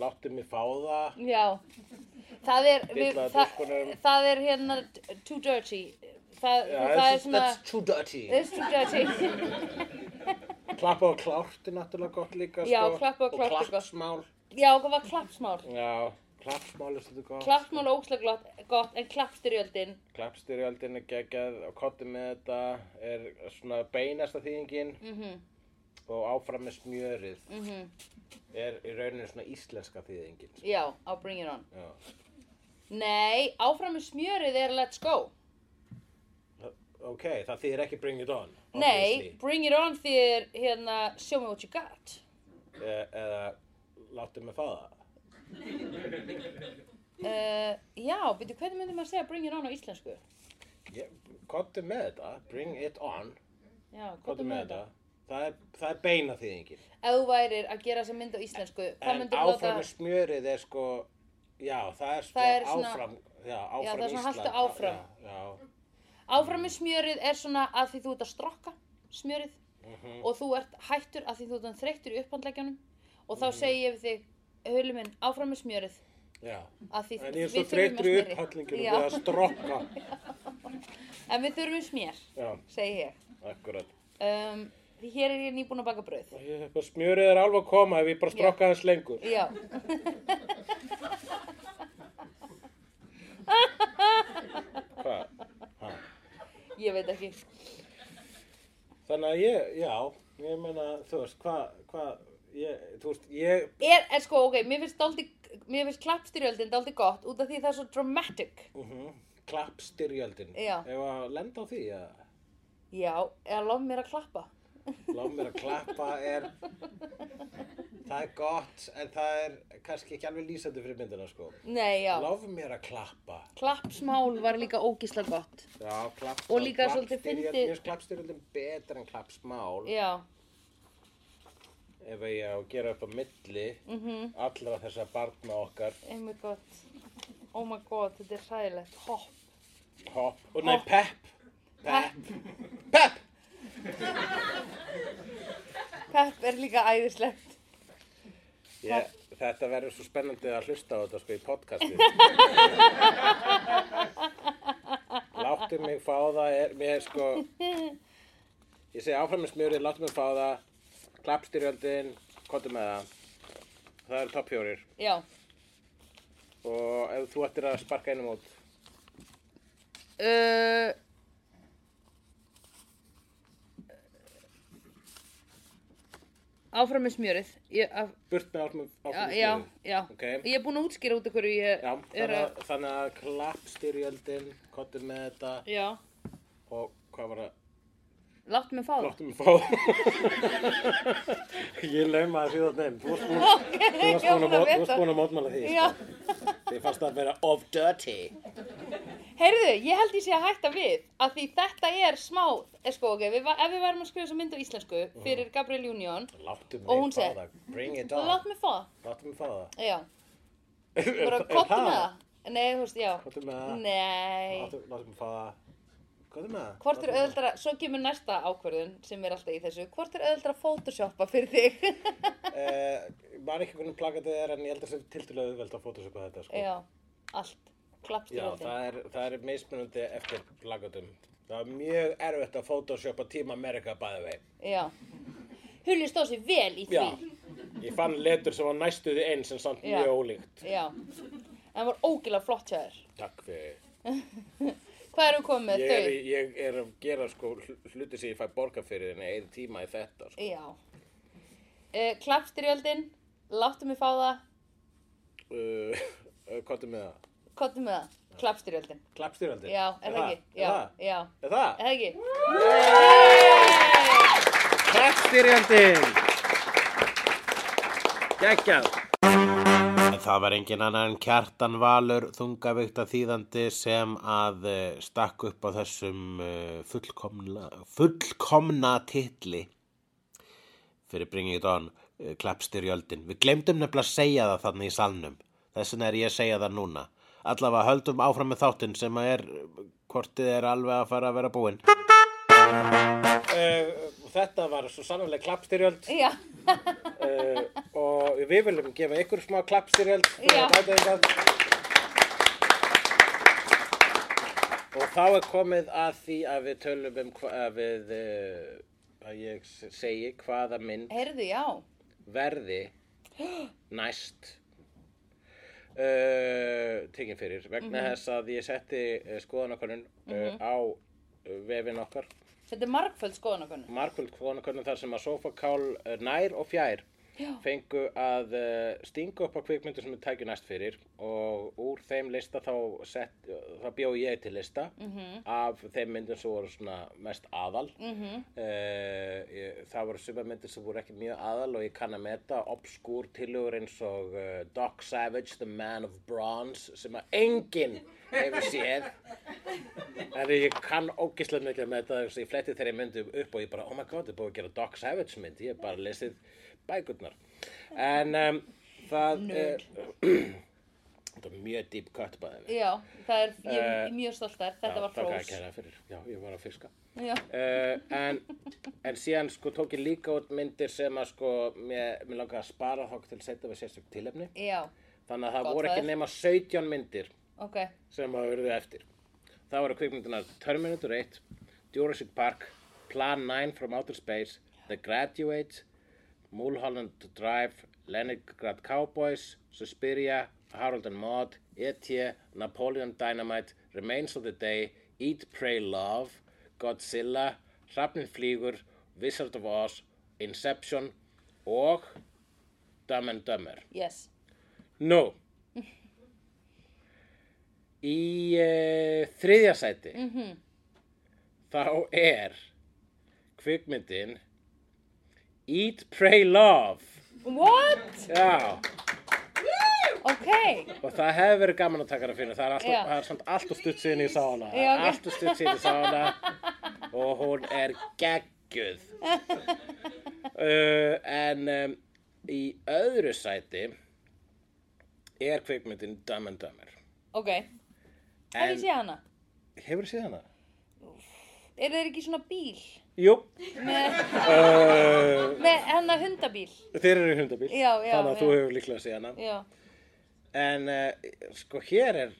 B: láttu mig fá það.
A: Já, það er, við,
B: Dillaði
A: það,
B: dúkkunum.
A: það er hérna t- too dirty, það,
B: Já,
A: það er
B: that's,
A: svona,
B: that's too dirty.
A: that's too dirty,
B: Klappa og klárt er náttúrulega gott líka,
A: Já,
B: sko.
A: klappa og klárt er
B: Og
A: gott.
B: klappsmál.
A: já það var klappsmál,
B: Já, klappsmál er svolítið gott.
A: klappsmál er ógeðslega gott, gott en klappstyrjöldin,
B: Klappstyrjöldin er geggjað og kottu með þetta er svona beinasta þýðingin
A: Mhm.
B: og áfram með smjörið er í rauninu svona íslenska þýðingin. sko.
A: já, á bring it on.
B: Já.
A: Nei, áfram með smjörið er let's go,
B: Ok, það þýðir ekki bring it on.
A: nei, bring it on þýðir hérna show me what you got,
B: obviously. E eða láttu mig fá það.
A: uh, já, byrju, hvernig myndum maður að segja bring it on á íslensku?
B: Ég- Kottu með þetta, bring it on,
A: Já,
B: kottu
A: komdu
B: með þetta. Það er, það er beina þýðingin.
A: Ef þú værir að gera þessa mynd á íslensku, hvað
B: En
A: myndur þú
B: áfram með smjörið er sko, já, það er sko
A: Það er svona-
B: áfram, já, áfram
A: það er svona
B: Ísland.
A: haltu áfram.
B: Já, já.
A: Áfram með smjörið er svona að því þú ert að strokka smjörið
B: Mhm.
A: og þú ert hættur að því þú ert þreyttur í upphandleggjanum og
B: Mhm.
A: þá segi ég við þig, hulum minn, áfram með smjörið
B: Já.
A: að því
B: En ég er
A: við
B: svo
A: þurfum
B: þreytur í
A: að smjöri.
B: upphallningunum
A: Já.
B: við að strokka.
A: en við þurfum smjör,
B: Já,
A: segi ég
B: akkurat.
A: um, því hér er ég nýbúin að baka brauð
B: Ég, bara smjörið er alveg að koma ef ég bara strokka aðeins lengur.
A: já
B: Hvað? Ha.
A: ég veit ekki
B: Þannig að ég, já, ég meina, þú veist, hvað, hvað, ég, þú veist, ég,
A: er, er sko, ok, mér finnst daldi mér finnst klappstyrjöldin daldi gott út af því það er svo dramatic
B: uh -huh, klappstyrjöldin.
A: Já.
B: Ef að lenda á því, að
A: já, eða lof mér að klappa
B: Lá mér að klappa er, það er gott, en það er kannski ekki alveg lýsandi fyrir myndina, sko.
A: nei, já,
B: Láf mér að klappa.
A: klappsmál var líka ógísla gott
B: Já, klappa.
A: Og líka svolítið fyndið-
B: Mér finnst klappstyrjöldin betur en klappsmál.
A: já,
B: Ef ég á að gera upp á milli
A: mhm,
B: allra þessa barna okkar.
A: einmitt gott oh my god, þetta er sæðilegt hopp,
B: Hopp. Og nei,
A: Hopp.
B: pepp.
A: pepp,
B: Pepp!
A: pepp er líka æðislegt
B: Ég, þetta verður svo spennandi að hlusta á þetta sko í podcasti. láttu mig fá það, er, mér sko, ég segi áfram með smjörið, láttu mig fá það, klappstyrjöldin, kottu með það. Það eru topp fjórir
A: já,
B: og ef þú ættir að sparka einum út,
A: uh, áfram með smjörið ég, af,
B: burt með áfram, áfram
A: já,
B: með
A: já,
B: smjörið.
A: já
B: Ok.
A: ég er búin að útskýra út af hverju ég
B: Já,
A: er
B: þannig
A: að,
B: að, þannig að klappstyrjöldin, kottu með þetta
A: já
B: og hvað var það?
A: láttu mig fá það
B: Láttu mig fá Ég lauma að því það nefn Þú varst búin- þú varst búin að
A: ég var búin að
B: mót- þú
A: vita.
B: varst búin að mótmála því sko.
A: já,
B: Þið fannst það að vera of dirty
A: heyrðu, ég held ég sé að hætta við að því þetta er smá er sko, ok, við, va- ef við værum að skrifa þessa mynd á íslensku
B: Mhm.
A: fyrir Gabriel Union
B: Láttu mig
A: Og hún
B: fá
A: segir-
B: það Bring it
A: þá
B: on
A: láttu mig fá það
B: Láttu mig fá það
A: já,
B: Er- er-
A: bara
B: er
A: kottu með það nei, þú veist, já
B: Kottu með það
A: nei,
B: Láttu láttu mig fá það Kottu með það Láttu mig fá
A: Hvort er
B: það.
A: auðvöldara, svo kemur næsta ákvörðun sem er alltaf í þessu, hvort er auðvöldara að photoshoppa fyrir þig?
B: Eh, Man ekki hvernig plakatið er En ég held að það er tildulega auðvelt að fótusöka þetta sko.
A: Já, allt,
B: Já,
A: klappstyrjöldin.
B: það er, það er mismunandi eftir plakatum Það er mjög erfitt að photoshopa Team America by the way
A: Já, Hulju stóð sér vel í
B: Já,
A: því.
B: ég fann letur sem var næstuði eins en samt
A: Já.
B: mjög ólíkt.
A: Já. En var ógilega flott hjá þér.
B: Takk fyrir.
A: Hvað eru komið
B: Ég er,
A: með þau?
B: ég er að gera sko hl- hluti sem ég fæ borga fyrir en ég eigði tíma í þetta sko.
A: Já. Uh, klappstyrjöldin, láttu mig fá það,
B: Uh, Kottu með það.
A: kottu með það, klappstyrjöldin.
B: Klappstyrjaldi?
A: Já, er það ekki? Já, já,
B: Er það?
A: er það ekki?
B: Klappstyrjaldin! Gekjað! En það var engin annar en kjartan valur þungavíkta þýðandi sem að eh, stakk upp á þessum eh, fullkomna, fullkomna titli fyrir Bring It On eh, klappstyrjöldin. Við glemdum nefnilega að segja það þarna í salnum. Þess vegna er ég að segja það núna. Allavega höldum áfram með þáttinn sem að er, eh, kortið er alveg að fara að vera búinn. Eh, þetta var svo sannlega klappstyrjöld
A: Já,
B: uh, og við viljum gefa ykkur smá klappstyrjöld
A: Já.
B: og þá er komið að því að við tölum um hva, að við uh, að ég s- segi hvaða mynd
A: heyrðu, já.
B: verði næst uh, tekin fyrir vegna þess að ég setti uh, skoðanakonun uh, á uh, vefin okkar
A: Þetta er margföld skoðanakonun.
B: margfjöld konakörnum þar sem að sofakál eh, nær og fjær
A: Já.
B: fengu að eh, stinga upp á kvikmyndu sem við tækju næst fyrir og úr þeim lista þá, sett, þá bjó ég til lista -hmm. af þeim myndum sem voru svona mest aðal mm -hmm. það voru suma myndir sem voru ekki mjög aðal og ég kann að meta obskúr tilugur eins og uh, Doc Savage, The Man of Bronze sem að enginn hefur séð Það er ég kann ógislega mikið með þetta þess að ég fletti þeirri myndum upp og ég bara, oh my god, ég er búið að gera Doc Savage mynd, ég hef bara lesið bækurnar. En um, það er, þetta er mjög deep cut bæðið.
A: Já, það er, ég er
B: Eh,
A: mjög stolt þar, þetta var
B: Takk að
A: frós.
B: kæra fyrir, já, ég var að fiska.
A: já,
B: Uh, en, en síðan sko tók ég líka út myndir sem að sko mér, mér langaði að spara þá til að setja við sérstök tilefni
A: já,
B: þannig að það
A: Gott
B: voru ekki
A: það er.
B: nema 17 myndir
A: ok,
B: sem að verðu eftir það voru kvikmyndunar Terminator 1 Jurassic Park Plan 9 from Outer Space The Graduate Mulholland Drive Leningrad Cowboys Suspiria Harold and Maude E.T. Napoleon Dynamite Remains of the Day Eat, Pray, Love Godzilla Hrafnin Flýgur Wizard of Oz Inception og Dumb and Dumber
A: yes,
B: No. Í uh, þriðja sæti
A: Mhm.
B: þá er kvikmyndin Eat, Pray, Love.
A: what,
B: Já,
A: ok,
B: og það hefur verið gaman að taka hana fyrir. Það er, alltaf,
A: Já.
B: það er samt allt og stutt síðan ég sá hana.
A: Já, ok.
B: Allt og stutt síðan ég sá hana og hún er geggjuð. Uh, en um, í öðru sæti er kvikmyndin Dumb and Dumber.
A: ok, hef
B: En-
A: ég séð hana?
B: Hefur séð hana?
A: Eru þeir ekki í svona bíl?
B: Jú,
A: Með,
B: uh,
A: með hennar hundabíl?
B: þeir eru í hundabíl,
A: Já, já,
B: þannig að
A: já.
B: þú hefur líklega séð hana.
A: Já,
B: En uh, sko hér er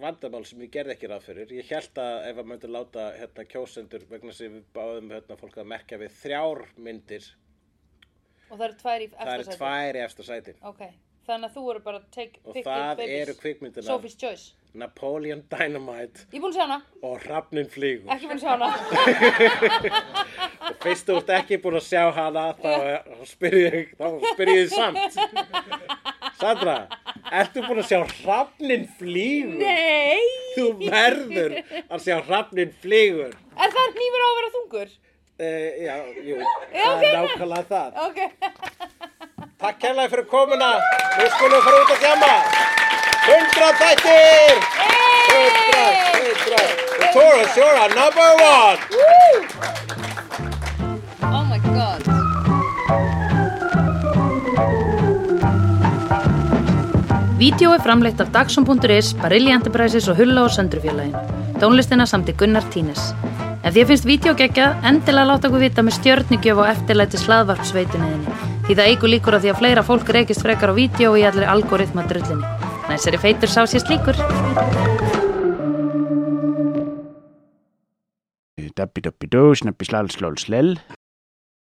B: vandamál sem ég gerði ekki ráð fyrir. Ég held að ef að myndi láta hérna kjósendur vegna sem við báðum hérna fólk að merkja við þrjár myndir,
A: og það eru tvær í
B: það eru
A: eftir
B: tvær í efsta sæti.
A: Ok, þannig að þú voru bara take,
B: Og
A: pick
B: það
A: the babies.
B: eru kvikmyndirnar.
A: Sophie's Choice
B: Napoleon Dynamite
A: Ég er búin að sjá hana,
B: og Hrafnin flýgur.
A: ekki búin að sjá hana
B: Og fyrst þú ert ekki búin að sjá hana, þá spyrjum ég, þá spyrjum ég samt. Sandra, ertu búin að sjá Hrafnin flýgur?
A: Nei,
B: Þú verður að sjá hrafnin flýgur.
A: er það nýfur á að vera þungur?
B: Uh, já, jú,
A: Já,
B: það
A: ok.
B: er nákvæmlega það.
A: Ok,
B: Takk kærlega fyrir komuna. Nú skulum við fara út að þjáma. 100 þættir! 100, 100. The tour is your number one.
A: oh my god
E: Vídeó er framleitt af Dagsum.is, Barilli Enterprises og Hulla og Söndrufjörlægin. Tónlistina samt í Gunnar Tínes. Ef þér finnst vídeo geggja, endilega láta okkur vita með stjörnigjöf og eftirlæti slaðvarpsveituninni. Því það eigur líkur að því að fleira fólk reykist frekar á vídeo í allri algoritma drullinni. Næsari feitur sá sér slíkur.
F: Dabbi dabbi dó, snabbi slal slól slell